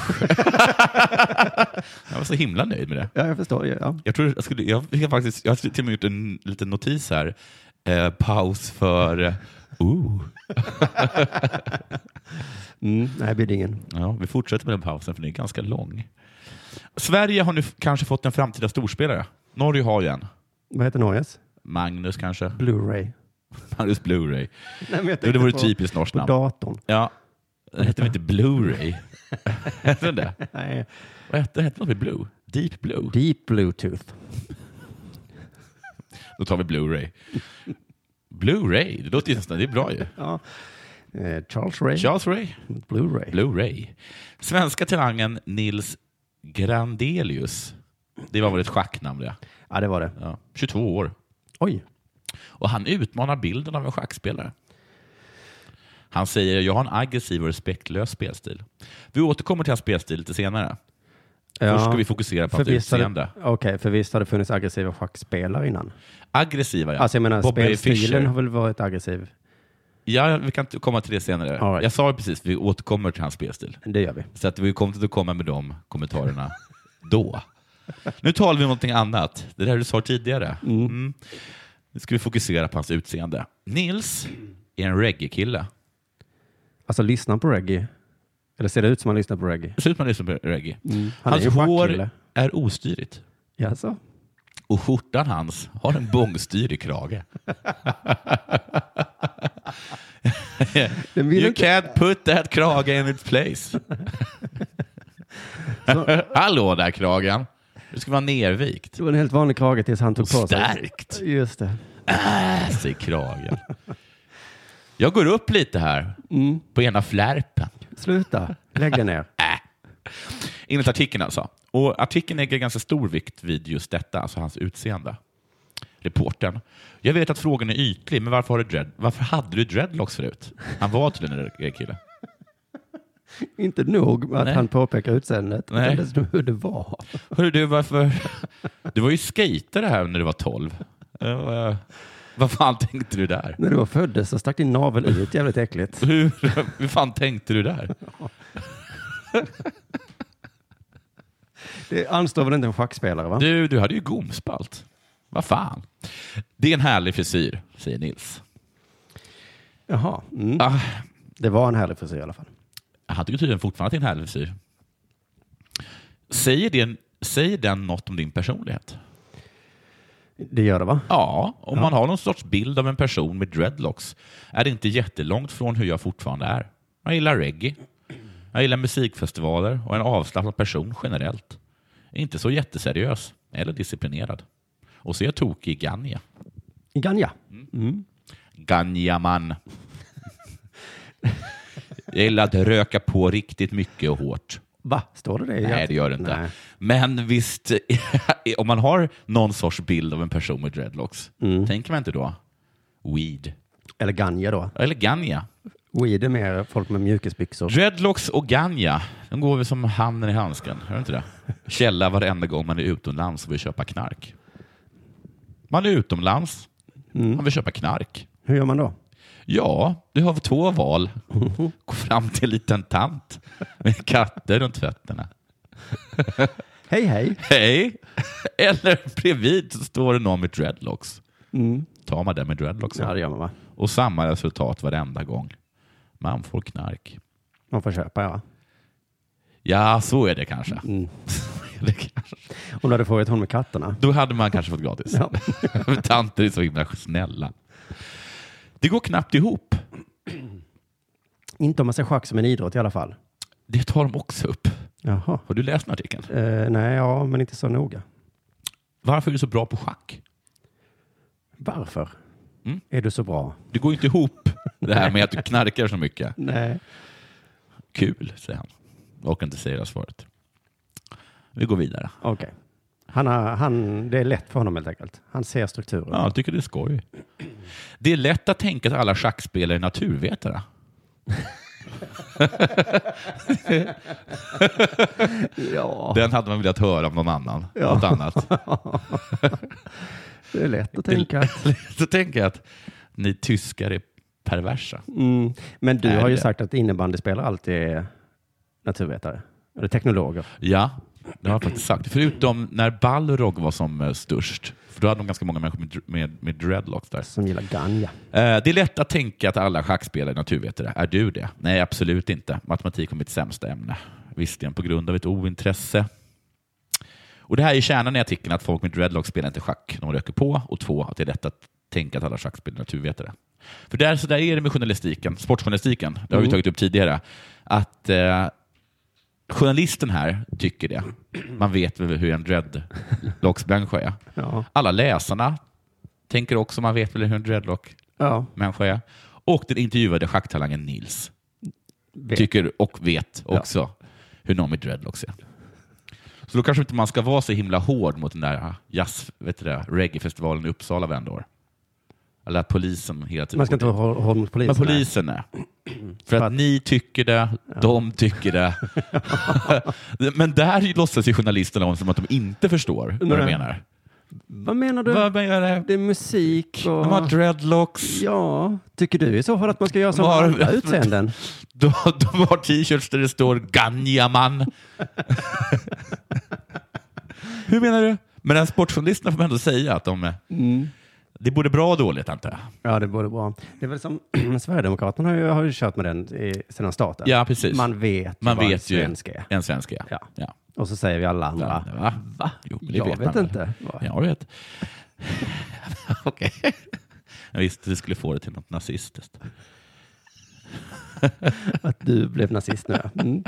Speaker 3: Jag var så himla nöjd med det.
Speaker 5: Ja, jag förstår. ju, Ja.
Speaker 3: Jag, tror jag, skulle, jag, jag, har faktiskt, jag har till och med gjort en liten notis här. eh, paus för... eh, Ooh.
Speaker 5: Mm, nej, Bidingen.
Speaker 3: Ja, vi fortsätter med den pausen, för den är ganska lång. Sverige har nu f- kanske fått en framtida storspelare. Norge har ju en.
Speaker 5: Vad heter Norges?
Speaker 3: Magnus kanske? [laughs]
Speaker 5: Blu-ray.
Speaker 3: Magnus Blu-ray.
Speaker 5: Nej, men
Speaker 3: Jo,
Speaker 5: jag
Speaker 3: Det
Speaker 5: tänkte
Speaker 3: vore
Speaker 5: på-
Speaker 3: ett typiskt norskt
Speaker 5: På
Speaker 3: namn.
Speaker 5: [laughs] datorn.
Speaker 3: Ja. Den hette väl inte Blu-ray? [laughs] hette den det?
Speaker 5: Nej.
Speaker 3: Vad hette den? Hette något med Blue? Deep Blue?
Speaker 5: Deep Bluetooth.
Speaker 3: Då tar vi Blu-ray. Blu-ray, det låter ju nästan, det är bra ju.
Speaker 5: Ja. Eh, Charles Ray.
Speaker 3: Charles Ray,
Speaker 5: Blu-ray.
Speaker 3: Blu-ray. Svenska talangen Nils Grandelius. Det var väl ett schacknamn det.
Speaker 5: ja, det var det.
Speaker 3: Ja. 22 år.
Speaker 5: Oj.
Speaker 3: Och han utmanar bilden av en schackspelare. Han säger, jag har en aggressiv och respektlös spelstil. Vi återkommer till hans spelstil lite senare. Först ska vi fokusera på hans utseende.
Speaker 5: Okej, för visst har det funnits aggressiva schackspelare innan?
Speaker 3: Aggressiva, ja.
Speaker 5: Alltså jag menar,
Speaker 3: Bobby
Speaker 5: spelstilen
Speaker 3: Fischer.
Speaker 5: har väl varit aggressiv?
Speaker 3: Ja, vi kan t- komma till det senare.
Speaker 5: All right.
Speaker 3: Jag sa ju precis, vi återkommer till hans spelstil.
Speaker 5: Det gör vi.
Speaker 3: Så att vi kommer inte att komma med de kommentarerna [laughs] då. Nu talar vi om någonting annat. Det där du sa tidigare. Mm. Nu ska vi fokusera på hans utseende. Nils är en reggae-kille.
Speaker 5: Alltså lyssnar han på reggae? Eller ser det ut som han lyssnar på reggae?
Speaker 3: Det ser ut som han lyssnar på reggae.
Speaker 5: Mm. Han
Speaker 3: hans
Speaker 5: är ju
Speaker 3: hår
Speaker 5: schackkille.
Speaker 3: är ostyrigt.
Speaker 5: Jaså?
Speaker 3: Och skjortan hans har en bångstyrig krage.
Speaker 5: Den vill
Speaker 3: You
Speaker 5: inte.
Speaker 3: can't put that krage in its
Speaker 5: [laughs]
Speaker 3: place. Hallå där kragen. Du ska vara nervikt.
Speaker 5: Det var en helt vanlig krage tills han tog på sig.
Speaker 3: Stärkt.
Speaker 5: Just det.
Speaker 3: Äh, säger kragen. Jag går upp lite här på ena flärpen.
Speaker 5: Sluta. Lägg dig ner.
Speaker 3: Enligt artikeln alltså. Och artikeln lägger ganska stor vikt vid just detta, alltså hans utseende. Reportern. Jag vet att frågan är ytlig, men varför, har du dread- varför hade du dreadlocks förut? Han var tydligen en reggae-kille.
Speaker 5: Inte nog med att
Speaker 3: Nej.
Speaker 5: han påpekar utseendet,
Speaker 3: Nej.
Speaker 5: utan dessutom hur det var.
Speaker 3: Hörru du, varför... Du var ju skejtare här när du var 12. Eh, vad fan tänkte du där?
Speaker 5: När du var föddes så stack din navel ut jävligt äckligt.
Speaker 3: Hur, hur fan tänkte du där?
Speaker 5: Det anstår väl inte en schackspelare va?
Speaker 3: Du, du hade ju gomspalt. Vad fan. Det är en härlig frisyr, säger Nils.
Speaker 5: Jaha. Mm.
Speaker 3: Ah,
Speaker 5: Det var en härlig frisyr i alla fall.
Speaker 3: han tycker tydligen fortfarande att det är en härlig frisyr. Säger, det, säger den något om din personlighet?
Speaker 5: Det gör det va?
Speaker 3: Ja, om man har någon sorts bild av en person med dreadlocks är det inte jättelångt från hur jag fortfarande är. Jag gillar reggae. Jag gillar musikfestivaler och är en avslappnad person generellt. Inte så jätteseriös eller disciplinerad. Och så är jag tokig i Ganja.
Speaker 5: Ganja.
Speaker 3: Ganjaman. Jag gillar att röka på riktigt mycket och hårt.
Speaker 5: Va? Står det det?
Speaker 3: Nej,
Speaker 5: i artikeln?
Speaker 3: det gör det inte.
Speaker 5: Nej.
Speaker 3: Men visst, [laughs] om man har någon sorts bild av en person med dreadlocks, tänker man inte då weed?
Speaker 5: Eller ganja då.
Speaker 3: Eller ganja.
Speaker 5: Weed är mer folk med mjukisbyxor.
Speaker 3: Dreadlocks och ganja, de går väl som handen i handsken? Hör du inte det? Källa varenda gång man är utomlands och vill köpa knark. Man är utomlands, man vill köpa knark.
Speaker 5: Hur gör man då?
Speaker 3: Ja, du har två
Speaker 5: [laughs]
Speaker 3: val. Gå fram till en liten tant med katter runt fötterna.
Speaker 5: Hej hej.
Speaker 3: Hej! Eller bredvid så står det någon med dreadlocks. Tar man den med dreadlocks.
Speaker 5: Mm. Ja, det gör man va?
Speaker 3: Och samma resultat varenda gång. Man får knark.
Speaker 5: Man får köpa ja.
Speaker 3: Ja, så är det kanske.
Speaker 5: Mm.
Speaker 3: [laughs] Så är det kanske.
Speaker 5: Om du hade frågat hon med katterna.
Speaker 3: Då hade man kanske fått gratis.
Speaker 5: Ja.
Speaker 3: [laughs] Tanter är så himla snälla. Det går knappt ihop.
Speaker 5: Inte om man ser schack som en idrott i alla fall.
Speaker 3: Det tar de också upp.
Speaker 5: Jaha.
Speaker 3: Har du läst den artikeln?
Speaker 5: Eh, nej, ja, men inte så noga.
Speaker 3: Varför är du så bra på schack?
Speaker 5: Varför?
Speaker 3: Mm.
Speaker 5: Är du så bra?
Speaker 3: Det går inte ihop det här med att du knarkar så mycket.
Speaker 5: Nej.
Speaker 3: Kul, säger han. Jag orkar inte säga det här svaret. Vi går vidare.
Speaker 5: Okej. Han har, han, det är lätt för honom helt enkelt. Han ser strukturen.
Speaker 3: Ja, jag tycker det är skoj. Det är lätt att tänka att alla schackspelare är naturvetare.
Speaker 5: Ja,
Speaker 3: Den hade man velat höra om någon annan. Något annat. [laughs]
Speaker 5: det är lätt att tänka.
Speaker 3: Så tänker jag att ni tyskar är perversa.
Speaker 5: Mm. Men du
Speaker 3: Är
Speaker 5: har ju
Speaker 3: det?
Speaker 5: sagt att innebandyspelare alltid är naturvetare. Eller teknologer.
Speaker 3: Ja, Det har jag faktiskt sagt. Förutom när Balrog var som eh, störst. För då hade de ganska många människor med, med, med dreadlocks där.
Speaker 5: Som gillar Ganja.
Speaker 3: Eh, Det är lätt att tänka att alla schackspelare är naturvetare. Är du det? Nej, absolut inte. Matematik var mitt sämsta ämne. Visserligen på grund av ett ointresse. Och Det här är kärnan i artikeln, att folk med dreadlocks spelar inte schack. De röker på. Och två, att det är lätt att tänka att alla schackspelare är naturvetare. För där, så där är det med journalistiken, sportjournalistiken. Det har vi tagit upp tidigare. Att eh, journalisten här tycker det. Man vet väl hur en dreadlocksmänniska är.
Speaker 5: Ja.
Speaker 3: Alla läsarna tänker också, man vet väl hur en dreadlock
Speaker 5: ja.
Speaker 3: människa är. Och den intervjuade schacktalangen Nils
Speaker 5: Vet.
Speaker 3: tycker och vet också hur någon med dreadlocks är. Så då kanske inte man ska vara så himla hård mot den där ah, jazz, vet du det, reggaefestivalen i Uppsala varenda år. Eller polisen hela tiden.
Speaker 5: Man ska inte vara hård hård mot polisen.
Speaker 3: Men polisen är. För att ni tycker det, de tycker
Speaker 5: [laughs]
Speaker 3: det. Men där låtsas ju journalisterna om som att de inte förstår vad du
Speaker 5: Nej.
Speaker 3: menar.
Speaker 5: Vad menar du?
Speaker 3: Vad menar du?
Speaker 5: Det är musik och...
Speaker 3: De har dreadlocks.
Speaker 5: Ja, tycker du i så fall att man ska göra som
Speaker 3: Var-
Speaker 5: alla utseenden?
Speaker 3: De, de har t-shirts där det står Ganjaman. Hur menar du? Men den sportjournalisterna får man ändå säga att de... Det är både bra och dåligt, antar jag.
Speaker 5: Mm. Ja, det borde vara. Det är väl som [clears throat] Sverigedemokraterna har ju, har ju kört med den i, sedan starten.
Speaker 3: Ja, precis.
Speaker 5: Man vet
Speaker 3: Man
Speaker 5: vad
Speaker 3: vet
Speaker 5: en
Speaker 3: ju
Speaker 5: svensk är.
Speaker 3: en svensk är.
Speaker 5: Ja.
Speaker 3: Ja.
Speaker 5: Och så säger vi alla andra.
Speaker 3: Va? Jo, det
Speaker 5: Jag
Speaker 3: vet,
Speaker 5: vet
Speaker 3: man väl.
Speaker 5: inte. Vad-
Speaker 3: Jag vet. [laughs] Okej. [laughs] Jag visste vi skulle få det till något nazistiskt.
Speaker 5: Att du blev nazist nu. Mm.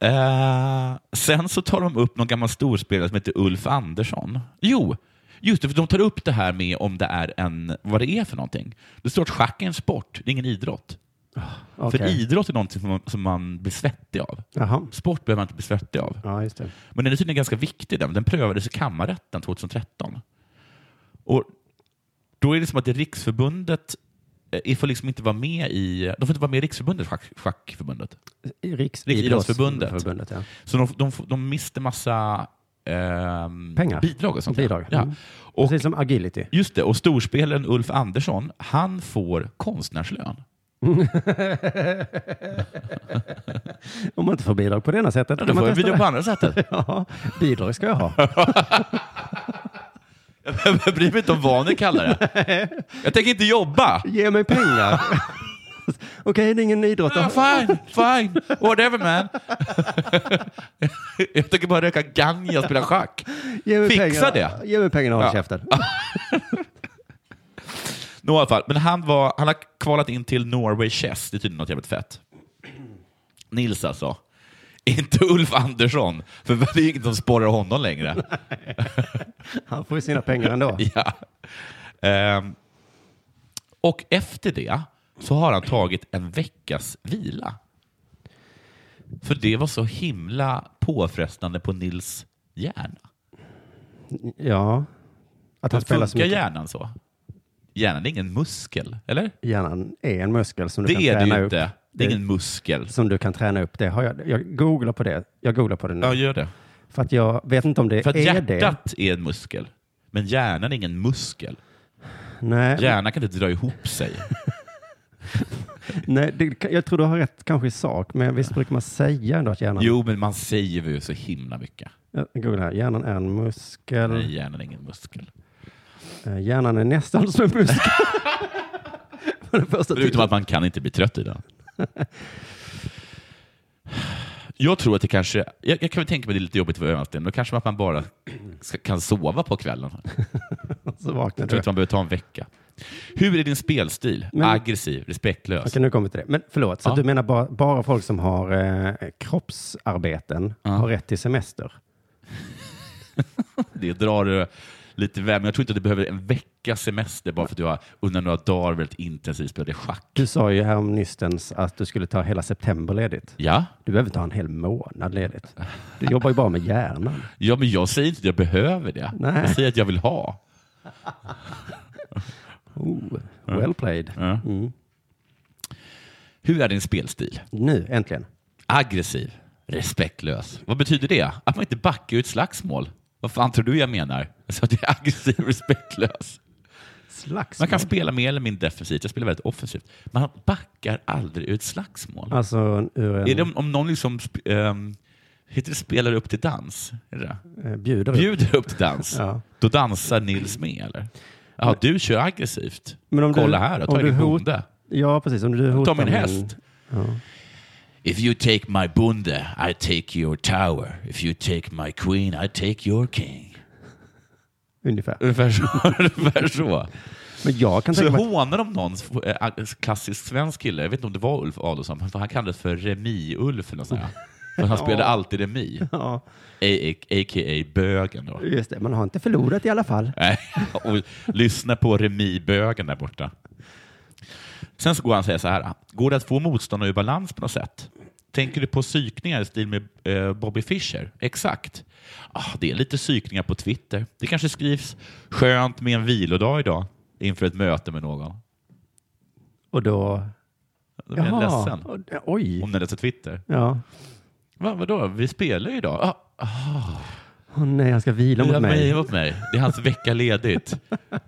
Speaker 3: Eh, sen så tar de upp någon gammal storspelare som heter Ulf Andersson. Jo, just det, för de tar upp det här med om det är en, vad det är för någonting. Det står att schack är en sport, det är ingen idrott. [laughs] För
Speaker 5: Okej.
Speaker 3: idrott är någonting som man, som man blir svettig av.
Speaker 5: Jaha.
Speaker 3: Sport behöver man inte bli svettig av.
Speaker 5: Ja, just det.
Speaker 3: Men den är tydligen ganska viktig. Den, den prövades i kammarrätten 2013. Och då är det som att det Riksförbundet eh, får liksom inte vara med i... De får inte vara med i Riksförbundet, schack, schackförbundet. Riksidrottsförbundet.
Speaker 5: Förbundet, ja.
Speaker 3: Så de, de, får- de mister massa ehm,
Speaker 5: Pengar.
Speaker 3: bidrag och sånt där.
Speaker 5: Bidrag,
Speaker 3: Ja.
Speaker 5: mm.
Speaker 3: Och,
Speaker 5: Precis som agility.
Speaker 3: just det, och storspelaren Ulf Andersson, han får konstnärslön.
Speaker 5: Om man inte får bidrag på det ena sättet.
Speaker 3: Ja,
Speaker 5: kan
Speaker 3: då
Speaker 5: man
Speaker 3: får jag
Speaker 5: testa
Speaker 3: bidrag på andra sättet.
Speaker 5: [laughs] det. Ja, bidrag ska jag ha.
Speaker 3: [laughs] Jag bryr mig inte om vad ni kallar det.
Speaker 5: [laughs]
Speaker 3: Jag tänker inte jobba.
Speaker 5: Ge mig pengar.
Speaker 3: [laughs]
Speaker 5: Okej, det är ingen idrott.
Speaker 3: Ah, [laughs] fine, fine, whatever man. [laughs] jag tänker bara röka ganja och spela schack.
Speaker 5: Ge mig
Speaker 3: Fixa
Speaker 5: pengarna.
Speaker 3: det.
Speaker 5: Ge mig pengarna och håll
Speaker 3: Ja.
Speaker 5: käften.
Speaker 3: Nå, i alla fall. Men han, var, han har kvalat in till Norway Chess. Det är tydligen något jävligt fett. [clears throat] Nils alltså. Inte Ulf Andersson, för det är inget som sporrar honom längre.
Speaker 5: Han får ju sina
Speaker 3: [laughs]
Speaker 5: pengar ändå.
Speaker 3: ja. Ehm, och efter det så har han tagit en veckas vila. För det var så himla påfrestande på Nils hjärna.
Speaker 5: Ja. Att han spelar så
Speaker 3: Funkar
Speaker 5: mycket.
Speaker 3: hjärnan så? Hjärnan är ingen muskel, eller?
Speaker 5: Hjärnan är en muskel som
Speaker 3: Det
Speaker 5: du kan
Speaker 3: är det
Speaker 5: träna
Speaker 3: ju
Speaker 5: upp.
Speaker 3: inte. Det är ingen muskel.
Speaker 5: Som du kan träna upp. Det har jag. jag googlar på det. Jag googlar på det nu.
Speaker 3: Ja, gör det.
Speaker 5: För att jag vet inte om det
Speaker 3: För att
Speaker 5: är det.
Speaker 3: hjärtat är en muskel, men hjärnan är ingen muskel.
Speaker 5: Nej,
Speaker 3: Hjärnan kan inte dra ihop
Speaker 5: [laughs]
Speaker 3: sig.
Speaker 5: nej det, jag tror du har rätt kanske i sak, men visst brukar man säga ändå att hjärnan,
Speaker 3: Jo, men man säger ju så himla mycket.
Speaker 5: Jag googlar här. hjärnan är en muskel.
Speaker 3: Nej, hjärnan är ingen muskel.
Speaker 5: Eh, Hjärnan är nästan som en muskel.
Speaker 3: [laughs]
Speaker 5: För det första
Speaker 3: Förutom
Speaker 5: titeln.
Speaker 3: att man kan inte bli trött i den.
Speaker 5: [laughs]
Speaker 3: Jag tror att det kanske, jag, jag kan väl tänka mig det är lite jobbigt för ögonsten, då kanske att man bara ska, kan sova på kvällen.
Speaker 5: så vaknar
Speaker 3: Jag tror
Speaker 5: du.
Speaker 3: inte man behöver ta en vecka. Hur är din spelstil?
Speaker 5: Men-
Speaker 3: Aggressiv, respektlös.
Speaker 5: Okej, nu kommer vi till det. Men förlåt, så
Speaker 3: Ja.
Speaker 5: du menar bara, bara folk som har eh, kroppsarbeten
Speaker 3: Ja.
Speaker 5: har rätt till semester?
Speaker 3: Det drar eh, lite väl, men jag tror inte att du behöver en veckas semester bara för att du har under några dagar väldigt intensivt spelat schack.
Speaker 5: Du sa ju härom nystens att du skulle ta hela september ledigt.
Speaker 3: Ja?
Speaker 5: Du behöver inte ha en hel månad ledigt. Du jobbar ju bara med hjärnan.
Speaker 3: ja, men jag säger inte att jag behöver det.
Speaker 5: Nej.
Speaker 3: Jag säger att jag vill ha.
Speaker 5: Oh, well played.
Speaker 3: Ja.
Speaker 5: Mm.
Speaker 3: Hur är din spelstil?
Speaker 5: Nu, äntligen.
Speaker 3: Aggressiv, respektlös. Vad betyder det? Att man inte backar ut slagsmål. Vad fan tror du jag menar? Jag sa att jag är aggressiv, [laughs] respektlös. Man
Speaker 5: Slagsmål.
Speaker 3: kan spela mer eller mindre defensivt. Jag spelar väldigt offensivt. Man backar aldrig ut slagsmål.
Speaker 5: Alltså, ur en...
Speaker 3: Är det om, om någon liksom sp- ehm, Heter det spelar upp till dans? Är det det?
Speaker 5: Eh, Bjuder upp.
Speaker 3: Bjuder upp till dans?
Speaker 5: Ja.
Speaker 3: Då dansar Nils med eller? Ja, du kör aggressivt.
Speaker 5: Men om
Speaker 3: Kolla
Speaker 5: du,
Speaker 3: här, då
Speaker 5: om
Speaker 3: tar jag
Speaker 5: du
Speaker 3: din
Speaker 5: hot-
Speaker 3: bonde.
Speaker 5: Ja, precis. Om du hotar
Speaker 3: Ta min häst.
Speaker 5: Ja.
Speaker 3: If you take my bonde, I take your tower. If you take my queen, I take your king.
Speaker 5: Ungefär.
Speaker 3: Ungefär så. [laughs] Ungefär så.
Speaker 5: Men jag kan
Speaker 3: Så
Speaker 5: tänka mig...
Speaker 3: hånar de någon eh, klassisk svensk kille, jag vet inte om det var Ulf Adelsohn, för han kallades för Remi-Ulf eller något sånt där. För
Speaker 5: [laughs]
Speaker 3: han spelade alltid Remi,
Speaker 5: Ja,
Speaker 3: a- a- a.k.a. bögen då.
Speaker 5: just det. Man har inte förlorat i alla fall.
Speaker 3: Nej, [laughs] och lyssna på remibögen där borta. Sen så går han och säger så här. Går det att få motståndare ur balans på något sätt? Tänker du på psykningar i stil med eh, Bobby Fischer? Exakt. Ah, det är lite psykningar på Twitter. Det kanske skrivs skönt med en vilodag idag inför ett möte med någon.
Speaker 5: Och då...
Speaker 3: Då blir jag ledsen.
Speaker 5: Och- Oj.
Speaker 3: Om den läser Twitter.
Speaker 5: Ja.
Speaker 3: Va, vadå? Vi spelar ju idag. Ah,
Speaker 5: Åh nej, han ska vila
Speaker 3: du har
Speaker 5: mot mig.
Speaker 3: mejlat åt mig. Det är hans vecka ledigt.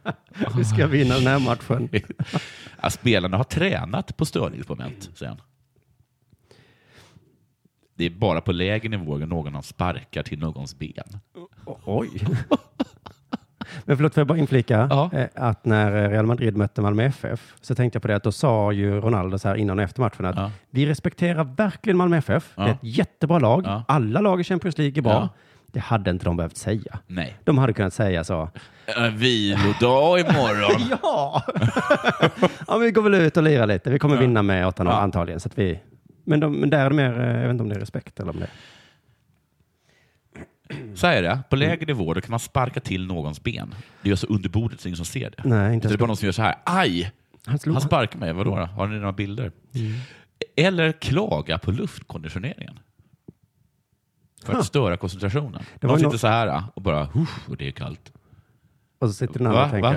Speaker 5: [laughs] Vi ska vinna den här matchen.
Speaker 3: Ja, spelarna har tränat på störningsmoment, säger han. Det är bara på lägre nivåer någon sparkar till någons ben.
Speaker 5: Oj. [laughs] Men förlåt, får jag bara inflika
Speaker 3: Ja.
Speaker 5: eh, att när Real Madrid mötte Malmö FF så tänkte jag på det att då sa ju Ronaldo så här innan och efter matchen att
Speaker 3: Ja.
Speaker 5: vi respekterar verkligen Malmö FF. Det är
Speaker 3: Ja.
Speaker 5: ett jättebra lag.
Speaker 3: Ja.
Speaker 5: Alla lag i Champions League är bra.
Speaker 3: Ja.
Speaker 5: Det hade inte de behövt säga.
Speaker 3: Nej.
Speaker 5: De hade kunnat säga så.
Speaker 3: Äh, vilodag [laughs] imorgon.
Speaker 5: Ja, ja men vi går väl ut och lirar lite. Vi kommer vinna med 8-0
Speaker 3: Ja.
Speaker 5: antagligen. Så att vi... men, de, men där är det mer, eh, jag vet inte om det är respekt eller om det
Speaker 3: Så här är det. På lägre nivåer då kan man sparka till någons ben. Det görs så under bordet så ingen som ser det.
Speaker 5: Nej,
Speaker 3: Så
Speaker 5: inte
Speaker 3: det är
Speaker 5: ens-
Speaker 3: bara någon som gör så här. Aj!
Speaker 5: Han slog
Speaker 3: Han sparkar mig. Vadå då? Har ni några bilder?
Speaker 5: Mm.
Speaker 3: Eller klaga på luftkonditioneringen. För att störa koncentrationen.
Speaker 5: Det var
Speaker 3: De
Speaker 5: ju
Speaker 3: sitter
Speaker 5: nå-
Speaker 3: så här och bara, "Uff, och det är kallt.
Speaker 5: och så sitter den andra och tänker.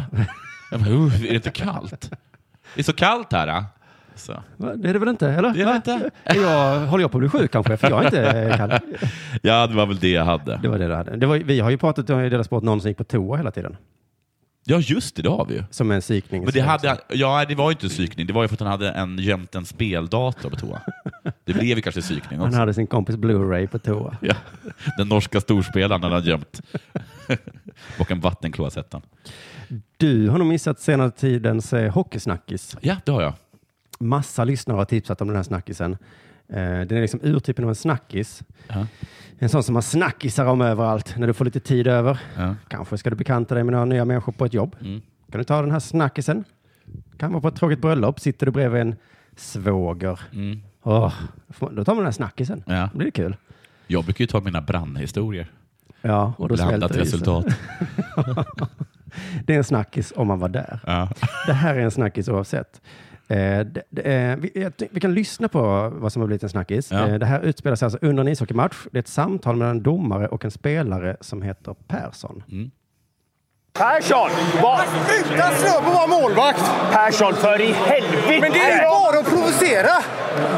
Speaker 3: Ja, men, uh, är det inte kallt? Det är så kallt här. Då. Så.
Speaker 5: Va? Det är det väl inte? Eller?
Speaker 3: Det är det
Speaker 5: Va?
Speaker 3: inte.
Speaker 5: Är Jag, håller jag på att bli sjuk kanske? För jag är inte
Speaker 3: [laughs]
Speaker 5: eh, kall.
Speaker 3: Ja, det var väl det jag hade.
Speaker 5: Det var det du hade. Det var, vi har ju pratat om i deras sport någon som gick på toa hela tiden.
Speaker 3: Ja, just det, det har vi ju.
Speaker 5: Som en psykning.
Speaker 3: Men det, hade, han- ja, det var ju inte en psykning, det var ju för att han hade en gömt en speldator på toa. Det blev ju kanske psykning
Speaker 5: Han
Speaker 3: också.
Speaker 5: hade sin kompis Blu-ray på toa.
Speaker 3: Ja. Den norska storspelaren hade han gömt. Och en vattenkloasettan.
Speaker 5: Du har nog missat senare tidens eh, hockeysnackis.
Speaker 3: Ja, det har jag.
Speaker 5: Massa lyssnare har tipsat om den här snackisen. Eh, den är liksom urtypen av en snackis.
Speaker 3: Ja.
Speaker 5: En sån som man snackisar om överallt när du får lite tid över.
Speaker 3: Ja. Mm.
Speaker 5: Kanske ska du bekanta dig med några nya människor på ett jobb. Kan du ta den här snackisen? Kan vara på ett tråkigt bröllop. Sitter du bredvid en svåger.
Speaker 3: Mm.
Speaker 5: Åh, då tar man den här snackisen.
Speaker 3: Ja.
Speaker 5: Då blir det kul.
Speaker 3: Jag brukar ju ta mina brandhistorier.
Speaker 5: Ja, och då
Speaker 3: Blandat
Speaker 5: smälter isen.
Speaker 3: resultat.
Speaker 5: Det är en snackis om man var där.
Speaker 3: Ja.
Speaker 5: Det här är en snackis oavsett. Eh, det, det, är- vi, jag ty- vi kan lyssna på vad som har blivit en snackis.
Speaker 3: Ja.
Speaker 5: Eh, det här utspelar sig alltså under en ishockeymatch. Det är ett samtal mellan en domare och en spelare som heter Persson.
Speaker 1: Persson! Vad?
Speaker 2: Sluta slå på vår målvakt!
Speaker 1: Persson, för i helvete!
Speaker 2: Men det är ju bara att provocera!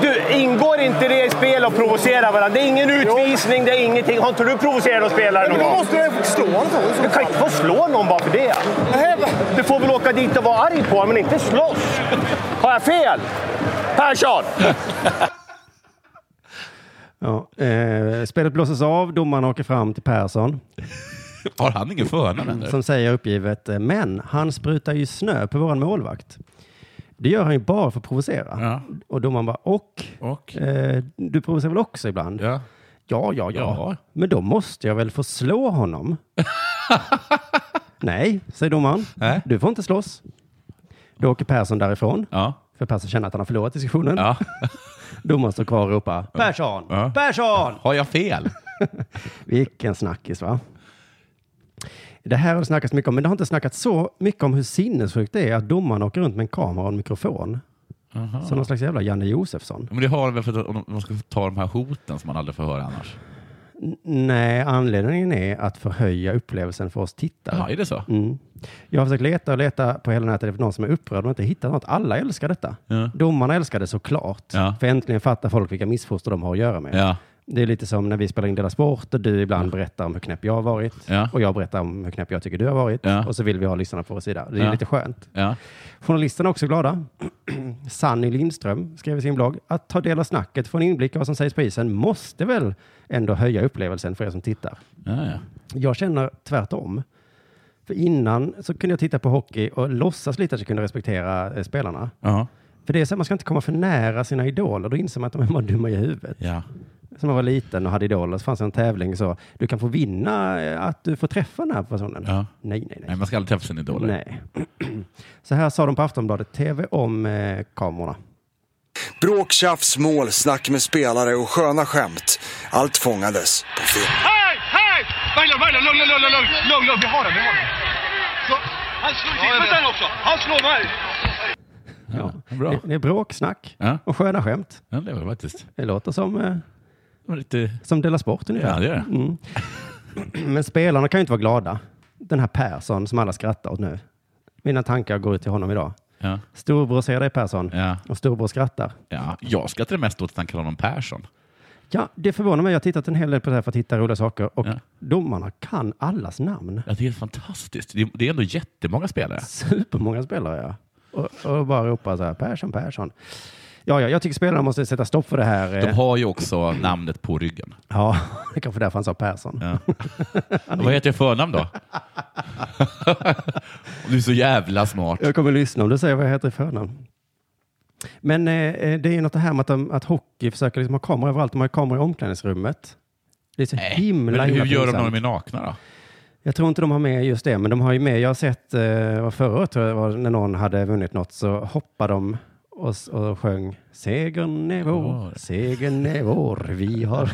Speaker 1: Du, ingår inte det i spel att provocera varandra? Det är ingen utvisning, det är ingenting. Har inte du provocerat någon spelare
Speaker 2: Men
Speaker 1: någon
Speaker 2: då
Speaker 1: gång?
Speaker 2: måste jag slå honom så.
Speaker 1: Du kan inte få slå någon bara för det.
Speaker 2: Nej, va?
Speaker 1: Du får väl åka dit och vara arg på men inte slåss. Har jag fel? Persson!
Speaker 5: Ja, eh, spelet blåses av, domaren åker fram till Persson
Speaker 3: Har han ingen förnamn eller?
Speaker 5: som säger uppgivet, eh, men han sprutar ju snö på våran målvakt. Det gör han ju bara för att provocera.
Speaker 3: Ja.
Speaker 5: Och domaren bara, och?
Speaker 3: Och?
Speaker 5: Eh, du provocerar väl också ibland?
Speaker 3: Ja.
Speaker 5: Ja, ja, ja.
Speaker 3: Ja.
Speaker 5: Men då måste jag väl få
Speaker 3: [laughs]
Speaker 5: slå honom? Nej, säger domaren.
Speaker 3: Nej.
Speaker 5: Du får inte slåss. Då åker Persson därifrån.
Speaker 3: Äh? Ja.
Speaker 5: För Persson känner att han har förlorat diskussionen.
Speaker 3: ja.
Speaker 5: Domaren står kvar och ropar Persson!
Speaker 3: Ja.
Speaker 5: Persson!
Speaker 3: Har jag fel?
Speaker 5: Vilken snackis va? Det här har det snackats mycket om, men det har inte snackats så mycket om hur sinnessjukt det är att domaren åker runt med en kamera och en mikrofon. Som någon slags jävla Janne Josefsson.
Speaker 3: Men det har de väl för att om de ska ta de här hoten som man aldrig får höra annars?
Speaker 5: Nej, anledningen är att förhöja upplevelsen för oss tittare.
Speaker 3: Ja, är det så?
Speaker 5: Mm. Jag har försökt leta och leta på hela nätet efter någon som är upprörd och inte hittat något. Alla älskar detta.
Speaker 3: Ja.
Speaker 5: Domarna älskar det såklart.
Speaker 3: Ja.
Speaker 5: För äntligen fattar folk vilka missfoster de har att göra med.
Speaker 3: Ja.
Speaker 5: Det är lite som när vi spelar in Dela Sport och du ibland berättar om hur knäpp jag har varit
Speaker 3: Ja.
Speaker 5: och jag berättar om hur knäpp jag tycker du har varit
Speaker 3: Ja.
Speaker 5: och så vill vi ha lyssnarna på vår sida. Det är
Speaker 3: Ja.
Speaker 5: lite skönt.
Speaker 3: Ja.
Speaker 5: Journalisterna är också glada. [clears throat] Sanny Lindström skrev i sin blogg att ta del av snacket, få en inblick i vad som sägs på isen måste väl ändå höja upplevelsen för er som tittar.
Speaker 3: Ja, ja.
Speaker 5: Jag känner tvärtom. För innan så kunde jag titta på hockey och låtsas lite att jag kunde respektera eh, spelarna.
Speaker 3: Ja.
Speaker 5: För det är så här, man ska inte komma för nära sina idoler. Då inser man att de är bara dumma i huvudet.
Speaker 3: Ja.
Speaker 5: Som man var liten och hade idoler så fanns det en tävling så du kan få vinna eh, att du får träffa den här personen.
Speaker 3: Ja.
Speaker 5: Nej, nej, nej.
Speaker 3: Nej, man ska aldrig träffa sina idoler.
Speaker 5: Nej. [clears throat] Så här sa de på Aftonbladet TV om eh, kamerorna.
Speaker 6: Bråk, tjafs, mål, snack med spelare och sköna skämt. Allt fångades på film.
Speaker 7: Hej! Hej! Berglund, Berglund, lugn, lugn, lugn, lugn, lugn, lugn, vi har den, vi har den. Så, han slår i huvudet den också. Han slår mig.
Speaker 5: Ja.
Speaker 3: bra.
Speaker 5: Det, det är bråk, snack
Speaker 3: Ja.
Speaker 5: och sköna skämt.
Speaker 3: Ja, det var det faktiskt.
Speaker 5: Det låter som, eh,
Speaker 3: Det var lite...
Speaker 5: som Della Sport ungefär.
Speaker 3: Ja, det är det.
Speaker 5: Men spelarna kan ju inte vara glada. Den här Persson som alla skrattar åt nu. Mina tankar går ut till honom idag.
Speaker 3: Ja.
Speaker 5: Storbror ser dig Persson
Speaker 3: Ja.
Speaker 5: och storbror skrattar.
Speaker 3: Ja. Jag skrattade mest åt att han kallade honom Persson.
Speaker 5: Ja, det förvånar mig. Jag har tittat en hel del på det här för att hitta roliga saker och
Speaker 3: Ja.
Speaker 5: domarna kan allas namn.
Speaker 3: Ja, det är helt fantastiskt. Det är- Det är ändå jättemånga spelare.
Speaker 5: Supermånga spelare, ja. Och, och bara ropar så här, Persson, Persson. Ja, ja, jag tycker spelarna måste sätta stopp för det här.
Speaker 3: De
Speaker 5: eh. [laughs]
Speaker 3: har ju också namnet på ryggen.
Speaker 5: Ja, det är kanske därför han sa Persson.
Speaker 3: Ja. Vad heter jag i förnamn
Speaker 5: [laughs]
Speaker 3: då? du är så jävla smart.
Speaker 5: Jag kommer lyssna om du säger vad jag heter i förnamn. Men eh, eh, det är ju något det här med att, de, att hockey försöker liksom ha kameror överallt. De har ju kameror i omklädningsrummet. Det är så himla,
Speaker 3: Men hur
Speaker 5: himla
Speaker 3: gör de
Speaker 5: pinsamt.
Speaker 3: när de är nakna då?
Speaker 5: Jag tror inte de har med just det, men de har ju med. Jag har sett eh, vad förra året tror jag det var, när någon hade vunnit något så hoppade de och, s- och sjöng segern är vår, segern är vår,
Speaker 3: [laughs]
Speaker 5: vi har.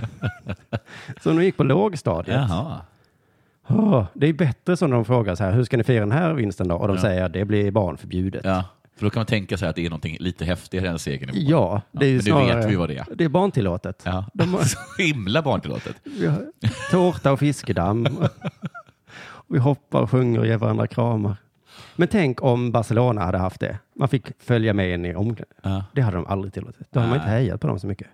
Speaker 5: så de gick på lågstadiet.
Speaker 3: Jaha.
Speaker 5: Åh, det är bättre som de frågar så här, hur ska ni fira den här vinsten då? Och de säger, det blir barnförbjudet.
Speaker 3: Ja. För då kan man tänka sig att det är någonting lite häftigare än segern i mål.
Speaker 5: Ja, det är ju
Speaker 3: men nu vet
Speaker 5: snarare...
Speaker 3: vi vad det är.
Speaker 5: Det är barntillåtet.
Speaker 3: Ja.
Speaker 5: De
Speaker 3: [laughs]
Speaker 5: har-
Speaker 3: Så himla barntillåtet.
Speaker 5: Vi har tårta och fiskedamm. Och vi hoppar och sjunger och ger varandra kramar. Men tänk om Barcelona hade haft det. Man fick följa med in i omklädningsrummet.
Speaker 3: Ja.
Speaker 5: Det hade de aldrig tillåtit. Då hade man inte hejat på dem så mycket.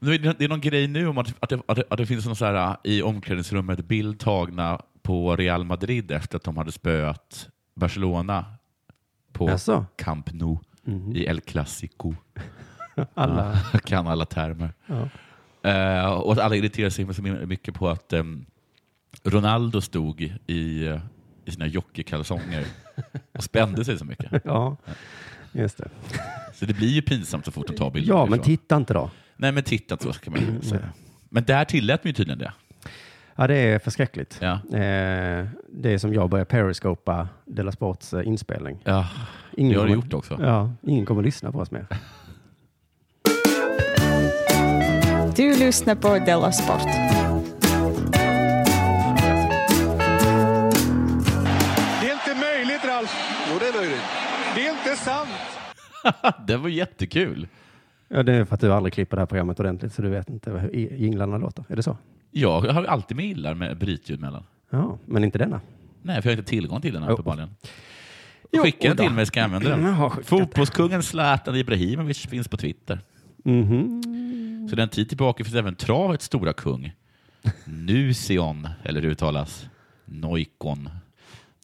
Speaker 3: Nu är Det det är någon grej nu om att, att, det, att, det, att det finns någon så här, äh, i omklädningsrummet bild tagna på Real Madrid efter att de hade spöat Barcelona på
Speaker 5: Jaså? Mhm.
Speaker 3: Camp Nou i El Clasico.
Speaker 5: [laughs] Alla.
Speaker 3: Jag kan alla termer. Eh, och att alla irriterar sig så mycket på att ehm, Ronaldo stod i, eh, i sina jockeykalsonger och spände sig så mycket.
Speaker 5: Ja, just det.
Speaker 3: Så det blir ju pinsamt så fort de tar bilder.
Speaker 5: Ja, men
Speaker 3: därifrån.
Speaker 5: titta inte då.
Speaker 3: Nej, men titta så ska man
Speaker 5: Mm,
Speaker 3: ju säga. Men där tillät man ju tydligen det.
Speaker 5: Ja, det är förskräckligt.
Speaker 3: Ja.
Speaker 5: Eh, det är som jag börjar periscopa Della Sports eh, inspelning.
Speaker 3: Ja,
Speaker 5: Ingen
Speaker 3: det har du
Speaker 5: kommer-
Speaker 3: gjort också.
Speaker 5: Ja, ingen kommer lyssna på oss mer.
Speaker 8: Du lyssnar på Della Sport.
Speaker 2: Det är inte möjligt, Ralf. Jo, det är möjligt. Det är inte sant.
Speaker 3: Det var jättekul.
Speaker 5: Ja, det är för att du aldrig klipper det här programmet ordentligt så du vet inte hur i- jinglarna låter. Är det så?
Speaker 3: Jag har ju alltid med illar med brytljud mellan.
Speaker 5: Ja, men inte denna.
Speaker 3: Nej, för jag har inte tillgång till den här
Speaker 5: Jo.
Speaker 3: uppenbarligen. Skicka den till mig ska jag använda
Speaker 5: Mm, Jag har
Speaker 3: den.
Speaker 5: skickat
Speaker 3: Fotbollskungen Zlatan Ibrahimovic finns på Twitter.
Speaker 5: Mhm.
Speaker 3: Så den tid tillbaka finns även travets stora kung. Nusion, eller hur det uttalas? Noikon.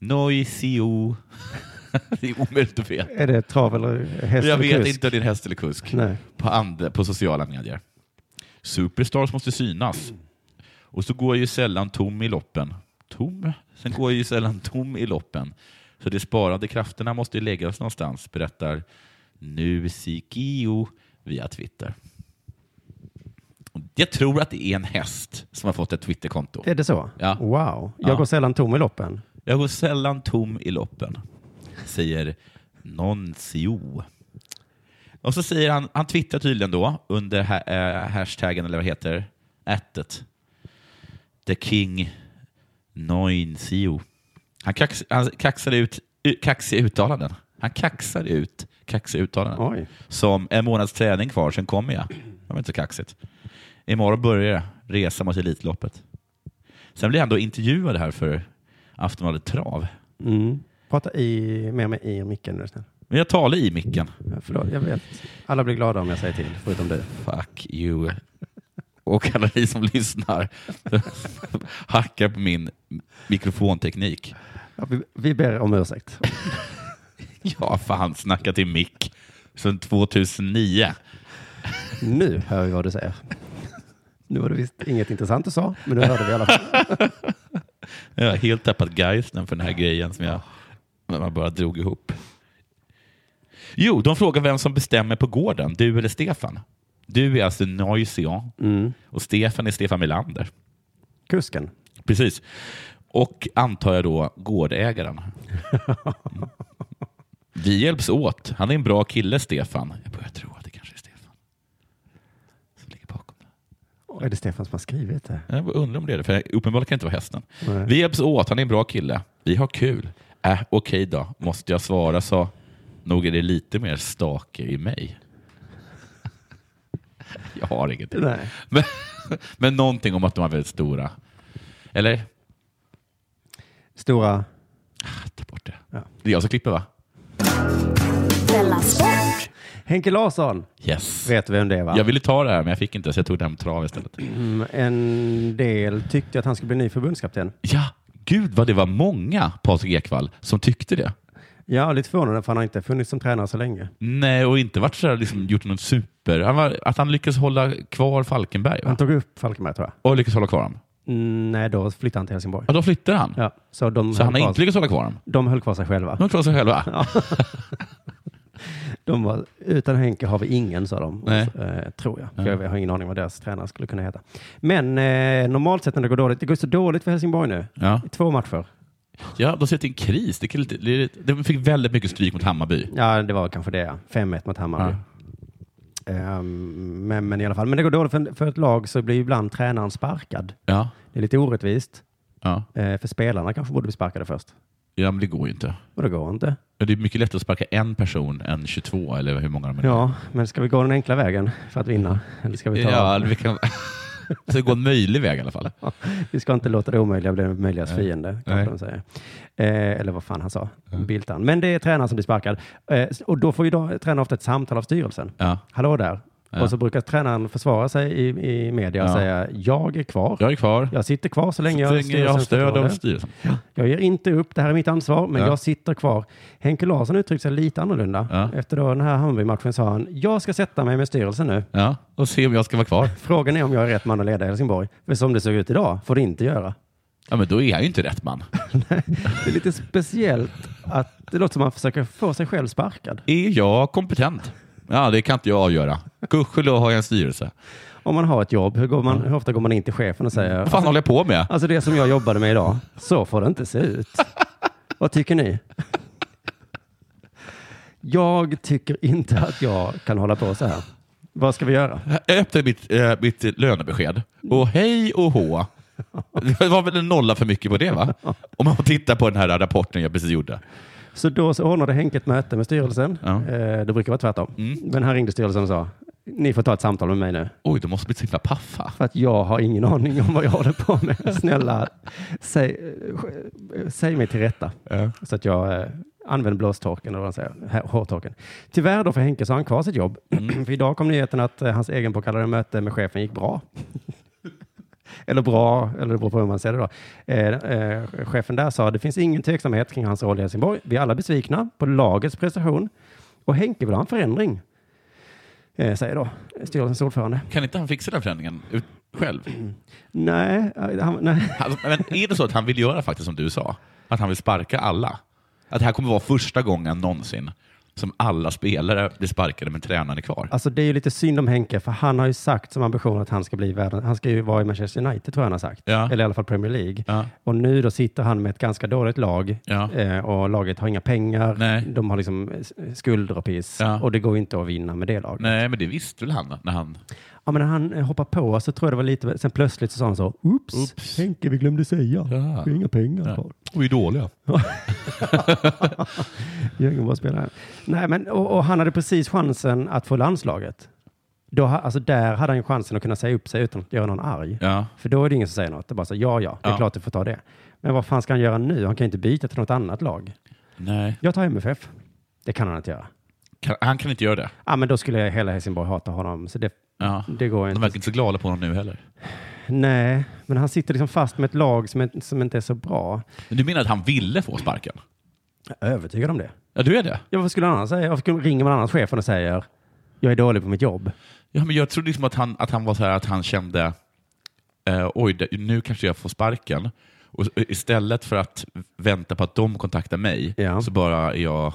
Speaker 3: Noisio. [laughs] Det är omöjligt att veta.
Speaker 5: Är det trav eller häst
Speaker 3: Jag
Speaker 5: eller
Speaker 3: vet
Speaker 5: kusk?
Speaker 3: inte om det är häst eller kusk
Speaker 5: Nej.
Speaker 3: på, and- på sociala medier. Superstars måste synas. Och så går jag ju sällan tom i loppen. Tom? Sen går jag ju sällan tom i loppen. Så de sparade krafterna måste ju läggas någonstans, berättar Nusikio via Twitter. Och Jag tror att det är en häst som har fått ett Twitterkonto.
Speaker 5: Är det så?
Speaker 3: Ja.
Speaker 5: Wow. Jag
Speaker 3: Ja.
Speaker 5: går sällan tom i loppen.
Speaker 3: Jag går sällan tom i loppen, säger Noncio. Och så säger han, han twittrar tydligen då under ha, eh, hashtaggen, eller vad heter ättet. The King Noncio. Han, kax, han kaxar ut u- kaxiga uttalanden. Han kaxar ut kaxiga uttalanden.
Speaker 5: Oj.
Speaker 3: Som en månads träning kvar, sen kommer jag. Det var inte så kaxigt. Imorgon börjar jag resa mot Elitloppet. Sen blir han då intervjuad här för Aftonbladet Trav.
Speaker 5: Mm. Prata i, mer med i micken nu snäll.
Speaker 3: Men jag talar i micken.
Speaker 5: Ja, Förlåt, jag vet. Alla blir glada om jag säger till, förutom du.
Speaker 3: Fuck you. Och alla ni som lyssnar hackar på min mikrofonteknik.
Speaker 5: Ja, vi, vi ber om ursäkt.
Speaker 3: Ja, fan, snacka till mick. Sen 2009.
Speaker 5: Nu hör vi vad du säger. Nu var det visst inget intressant du sa, men nu hörde vi i alla fall.
Speaker 3: Jag har helt tappat geisten för den här grejen som jag, som jag bara drog ihop. Jo, de frågar vem som bestämmer på gården, du eller Stefan. Du är alltså Noisian och Stefan är Stefan Melander.
Speaker 5: Kusken.
Speaker 3: Precis. Och antar jag då
Speaker 5: [laughs]
Speaker 3: gårdägaren. Mm. Vi hjälps åt. Han är en bra kille, Stefan. Jag börjar tro att det kanske är Stefan som ligger bakom. det.
Speaker 5: Och är det Stefan som har skrivit det?
Speaker 3: Jag bara undrar om det är det, för uppenbarligen kan det inte vara hästen.
Speaker 5: Nej.
Speaker 3: Vi hjälps åt, han är en bra kille. Vi har kul. Äh, okej då, måste jag svara så. Nog är det lite mer stake i mig. [laughs] Jag har ingenting.
Speaker 5: Nej.
Speaker 3: Men, [laughs] men någonting om att de var väldigt stora. Eller?
Speaker 5: Stora...
Speaker 3: Äh, Ta bort det.
Speaker 5: Ja.
Speaker 3: Det är jag som klipper va?
Speaker 4: Della Sport.
Speaker 5: Henke Larsson
Speaker 3: Yes.
Speaker 5: vet vem det är va?
Speaker 3: Jag ville ta det här men jag fick inte så jag tog det här med trav istället.
Speaker 5: Mm, En del tyckte att han skulle bli ny förbundskapten.
Speaker 3: Ja, gud vad det var många, Patrik Ekwall, som tyckte det.
Speaker 5: Ja, lite förvånande för han har inte funnits som tränare så länge.
Speaker 3: Nej, och inte varit så här, liksom, gjort något super... Han var, att han lyckades hålla kvar Falkenberg va?
Speaker 5: Han tog upp Falkenberg tror jag.
Speaker 3: och lyckades hålla kvar honom.
Speaker 5: Mm, nej, då flyttade han till Helsingborg.
Speaker 3: Ja, då flyttar han.
Speaker 5: Ja, så de,
Speaker 3: Så han har
Speaker 5: höll
Speaker 3: inte
Speaker 5: kvar,
Speaker 3: lyckats hålla kvar honom.
Speaker 5: de höll kvar sig själva.
Speaker 3: De har kvar sig själva.
Speaker 5: De var, utan Henke har vi ingen, sa de.
Speaker 3: Nej.
Speaker 5: Eh, tror jag. För Jag har ingen aning vad deras tränare skulle kunna heta. Men eh, normalt sett när det går dåligt, det går så dåligt för Helsingborg nu.
Speaker 3: Ja.
Speaker 5: I Två matcher.
Speaker 3: Ja, de sätter en kris. Det kan lite, det är lite- de fick väldigt mycket stryk mot Hammarby.
Speaker 5: Ja, det var kanske det. ja. 5-1 mot Hammarby. Ehm, men, men i alla fall, men det går dåligt för, för ett lag så blir ju ibland tränaren sparkad.
Speaker 3: Ja,
Speaker 5: Det är lite orättvist.
Speaker 3: ja.
Speaker 5: Eh, för spelarna kanske borde bli sparkade först.
Speaker 3: ja men det går ju inte.
Speaker 5: Och det går inte.
Speaker 3: Men Det är mycket lättare att sparka en person än 22, eller hur många de är.
Speaker 5: Ja, men ska vi gå den enkla vägen för att vinna? Eller ska vi ta...
Speaker 3: ja vi kan... [laughs] Så det går en möjlig väg i alla fall.
Speaker 5: [laughs] Vi ska inte låta det omöjliga bli det möjligas fiende, kanske
Speaker 3: Nej.
Speaker 5: de säger. Eh, eller vad fan han sa, Biltan. Men det är tränaren som blir sparkad. Eh, och då får ju då, tränaren ofta ett samtal av styrelsen.
Speaker 3: Ja.
Speaker 5: Hallå där. Och så brukar tränaren försvara sig i, i media och
Speaker 3: Ja.
Speaker 5: säga jag är kvar.
Speaker 3: Jag är kvar.
Speaker 5: Jag sitter kvar så länge
Speaker 3: Så
Speaker 5: jag,
Speaker 3: länge jag har
Speaker 5: styrelsens
Speaker 3: stöd av
Speaker 5: förtroende.
Speaker 3: styrelsen.
Speaker 5: Jag ger inte upp, det här är mitt ansvar, men
Speaker 3: Ja.
Speaker 5: jag sitter kvar. Henke Larsson uttryckte sig lite annorlunda.
Speaker 3: Ja.
Speaker 5: Efter då den här Hammarby-matchen sa han, jag ska sätta mig med styrelsen nu.
Speaker 3: Ja, och se om jag ska vara kvar.
Speaker 5: Frågan är om jag är rätt man att leda Helsingborg. För som det såg ut idag får det inte göra.
Speaker 3: Ja, men då är jag ju inte rätt man.
Speaker 5: Det är lite speciellt att det låter som att man försöker få sig själv sparkad.
Speaker 3: Är jag kompetent? Ja, det kan inte jag avgöra. Gudskelov har jag en styrelse.
Speaker 5: Om man har ett jobb, hur, går man, hur ofta går man in till chefen och säger
Speaker 3: Vad fan håller jag på med?
Speaker 5: alltså det som jag jobbade med idag, så får det inte se [laughs] ut. Vad tycker ni? Jag tycker inte att jag kan hålla på så här. Vad ska vi göra?
Speaker 3: Jag öppnade mitt, eh, mitt lönebesked och hej och hå. Det var väl en nolla för mycket på det va? Om man tittar på den här rapporten jag precis gjorde.
Speaker 5: Så då så ordnade Henke ett möte med styrelsen.
Speaker 3: Ja.
Speaker 5: Eh, det brukar vara tvärtom. Men han ringde styrelsen och sa, ni får ta ett samtal med mig nu.
Speaker 3: Oj, de måste bli så himla paffa.
Speaker 5: För att jag har ingen aning om vad jag håller på med. Snälla, säg, säg mig till rätta. Så att jag eh, använder blåstorken, eller vad man säger, hä- hårtorken. Tyvärr då för Henke så har han kvar sitt jobb. [clears throat] för idag kom nyheten att eh, hans egenpåkallade möte med chefen gick bra. [laughs] eller bra, eller det beror på hur man ser det då. Eh, eh, chefen där sa, det finns ingen tveksamhet kring hans roll i Helsingborg. Vi är alla besvikna på lagets prestation. Och Henke vill ha en förändring, eh, säger då styrelsens ordförande.
Speaker 3: Kan inte han fixa den förändringen ut- själv?
Speaker 5: Nej, eh, han, nej. [laughs]
Speaker 3: Han, men är det så att han vill göra faktiskt som du sa? Att han vill sparka alla? Att det här kommer vara första gången någonsin som alla spelare blir sparkade men tränaren är kvar?
Speaker 5: Alltså det är ju lite synd om Henke, för han har ju sagt som ambition att han ska bli världen. Han ska ju vara i Manchester United, tror jag han har sagt.
Speaker 3: Ja.
Speaker 5: Eller i alla fall Premier League.
Speaker 3: Ja.
Speaker 5: Och nu då sitter han med ett ganska dåligt lag
Speaker 3: Ja.
Speaker 5: eh, och laget har inga pengar.
Speaker 3: Nej.
Speaker 5: De har liksom eh, s- skulder och piss
Speaker 3: Ja.
Speaker 5: och det går inte att vinna med det laget.
Speaker 3: Nej, men det visste väl han när han...
Speaker 5: Ja, men när han eh, hoppar på så tror jag det var lite, sen plötsligt så sa han så, oops, Henke vi glömde säga,
Speaker 3: Ja.
Speaker 5: vi har inga pengar kvar.
Speaker 3: Vi är dåliga.
Speaker 5: Jörgen var spelare. Nej, men, och, och han hade precis chansen att få landslaget. Då, ha- alltså, där hade han ju chansen att kunna säga upp sig utan att göra någon arg.
Speaker 3: Ja.
Speaker 5: För då är det ingen som säger något. Det är bara så, ja, ja, det är
Speaker 3: Ja.
Speaker 5: klart du får ta det. Men vad fan ska han göra nu? Han kan ju inte byta till något annat lag.
Speaker 3: Nej.
Speaker 5: Jag tar MFF. Det kan han inte göra.
Speaker 3: Kan, han kan inte göra det.
Speaker 5: Ja, men då skulle hela Helsingborg hata honom. Så det,
Speaker 3: Ja.
Speaker 5: det går
Speaker 3: De
Speaker 5: inte.
Speaker 3: verkar inte så glada på honom nu heller.
Speaker 5: Nej, men han sitter liksom fast med ett lag som, är, som inte är så bra.
Speaker 3: Men du menar att han ville få sparken?
Speaker 5: Jag är övertygad om det.
Speaker 3: Ja, du är det?
Speaker 5: Ja, vad skulle han annars säga? Varför ringer man annars chefen och säger jag är dålig på mitt jobb?
Speaker 3: Ja, men jag trodde liksom att han, att han var så här att han kände eh, oj, det- nu kanske jag får sparken. Och så- istället för att vänta på att de kontaktar mig
Speaker 5: Ja.
Speaker 3: så bara är jag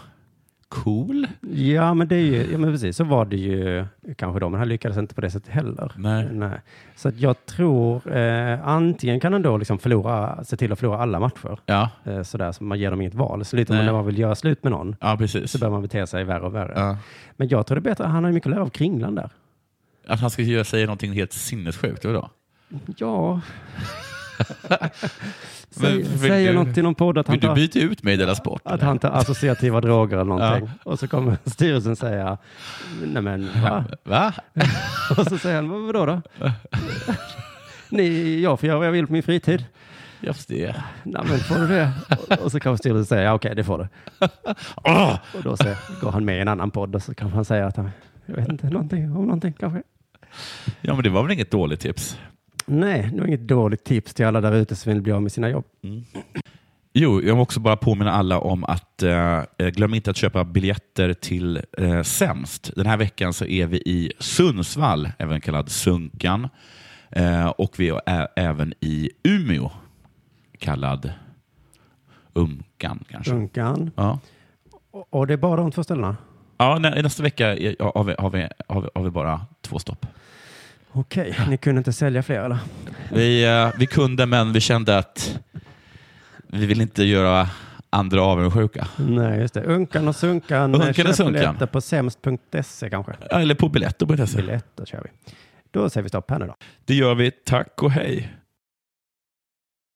Speaker 3: cool.
Speaker 5: Ja, men det är ju, ja, men precis så var det ju kanske då, men han lyckades inte på det sättet heller.
Speaker 3: Nej.
Speaker 5: Så att jag tror eh, antingen kan han då liksom förlora, se till att förlora alla matcher.
Speaker 3: Ja,
Speaker 5: Eh, sådär, så man ger dem inget val. Så lite om
Speaker 3: Nej.
Speaker 5: när man vill göra slut med någon
Speaker 3: ja precis.
Speaker 5: så börjar man bete sig värre och värre.
Speaker 3: Ja.
Speaker 5: Men jag tror det är bättre, han har ju mycket att lära av kringlan där.
Speaker 3: Att han ska göra- säga någonting helt sinnessjukt, eller då?
Speaker 5: [laughs] Ja.
Speaker 3: Men
Speaker 5: Säg,
Speaker 3: vill
Speaker 5: säger
Speaker 3: du-
Speaker 5: något i någon podd att han
Speaker 3: Vill du
Speaker 5: tar...
Speaker 3: byta ut mig i Della Sport?
Speaker 5: Att
Speaker 3: eller?
Speaker 5: han tar associativa droger eller någonting. Och så kommer styrelsen säga, nej men va?
Speaker 3: Va?
Speaker 5: [laughs] Och så säger han, "Vad- vadå [laughs] då? Ni, jag får göra vad jag vill på min fritid.
Speaker 3: Just det.
Speaker 5: Nej men får du det? Och, och så kanske styrelsen säger, ja okej det får du.
Speaker 3: Åh!
Speaker 5: Och då så går han med i en annan podd och så kanske han säger att han, jag vet inte, någonting om någonting kanske.
Speaker 3: Ja, men det var väl inget dåligt tips?
Speaker 5: Nej, det var inget dåligt tips till alla där ute som vill bli av med sina jobb.
Speaker 3: Jo, jag vill också bara påminna alla om att eh, glöm inte att köpa biljetter till eh, Sämst. Den här veckan så är vi i Sundsvall, även kallad Sunkan. Eh, och vi är ä- även i Umeå, kallad Umkan kanske.
Speaker 5: Mm. Dunkan.
Speaker 3: Ja.
Speaker 5: Och, och det är bara de två ställena?
Speaker 3: Ja, nä- nästa vecka är, har, vi, har, vi, har, vi, har vi bara två stopp.
Speaker 5: Okej, ni kunde inte sälja fler eller?
Speaker 3: Vi, eh, vi kunde, men vi kände att vi vill inte göra andra avundsjuka.
Speaker 5: Nej, just det. Unkan och Sunkan.
Speaker 3: Unkan och
Speaker 5: Köp
Speaker 3: Sunkan.
Speaker 5: biljetter på sämst.se E kanske.
Speaker 3: Eller på biletter.se.
Speaker 5: Biljetter kör vi. Då säger vi stopp här nu då.
Speaker 3: Det gör vi. Tack och hej.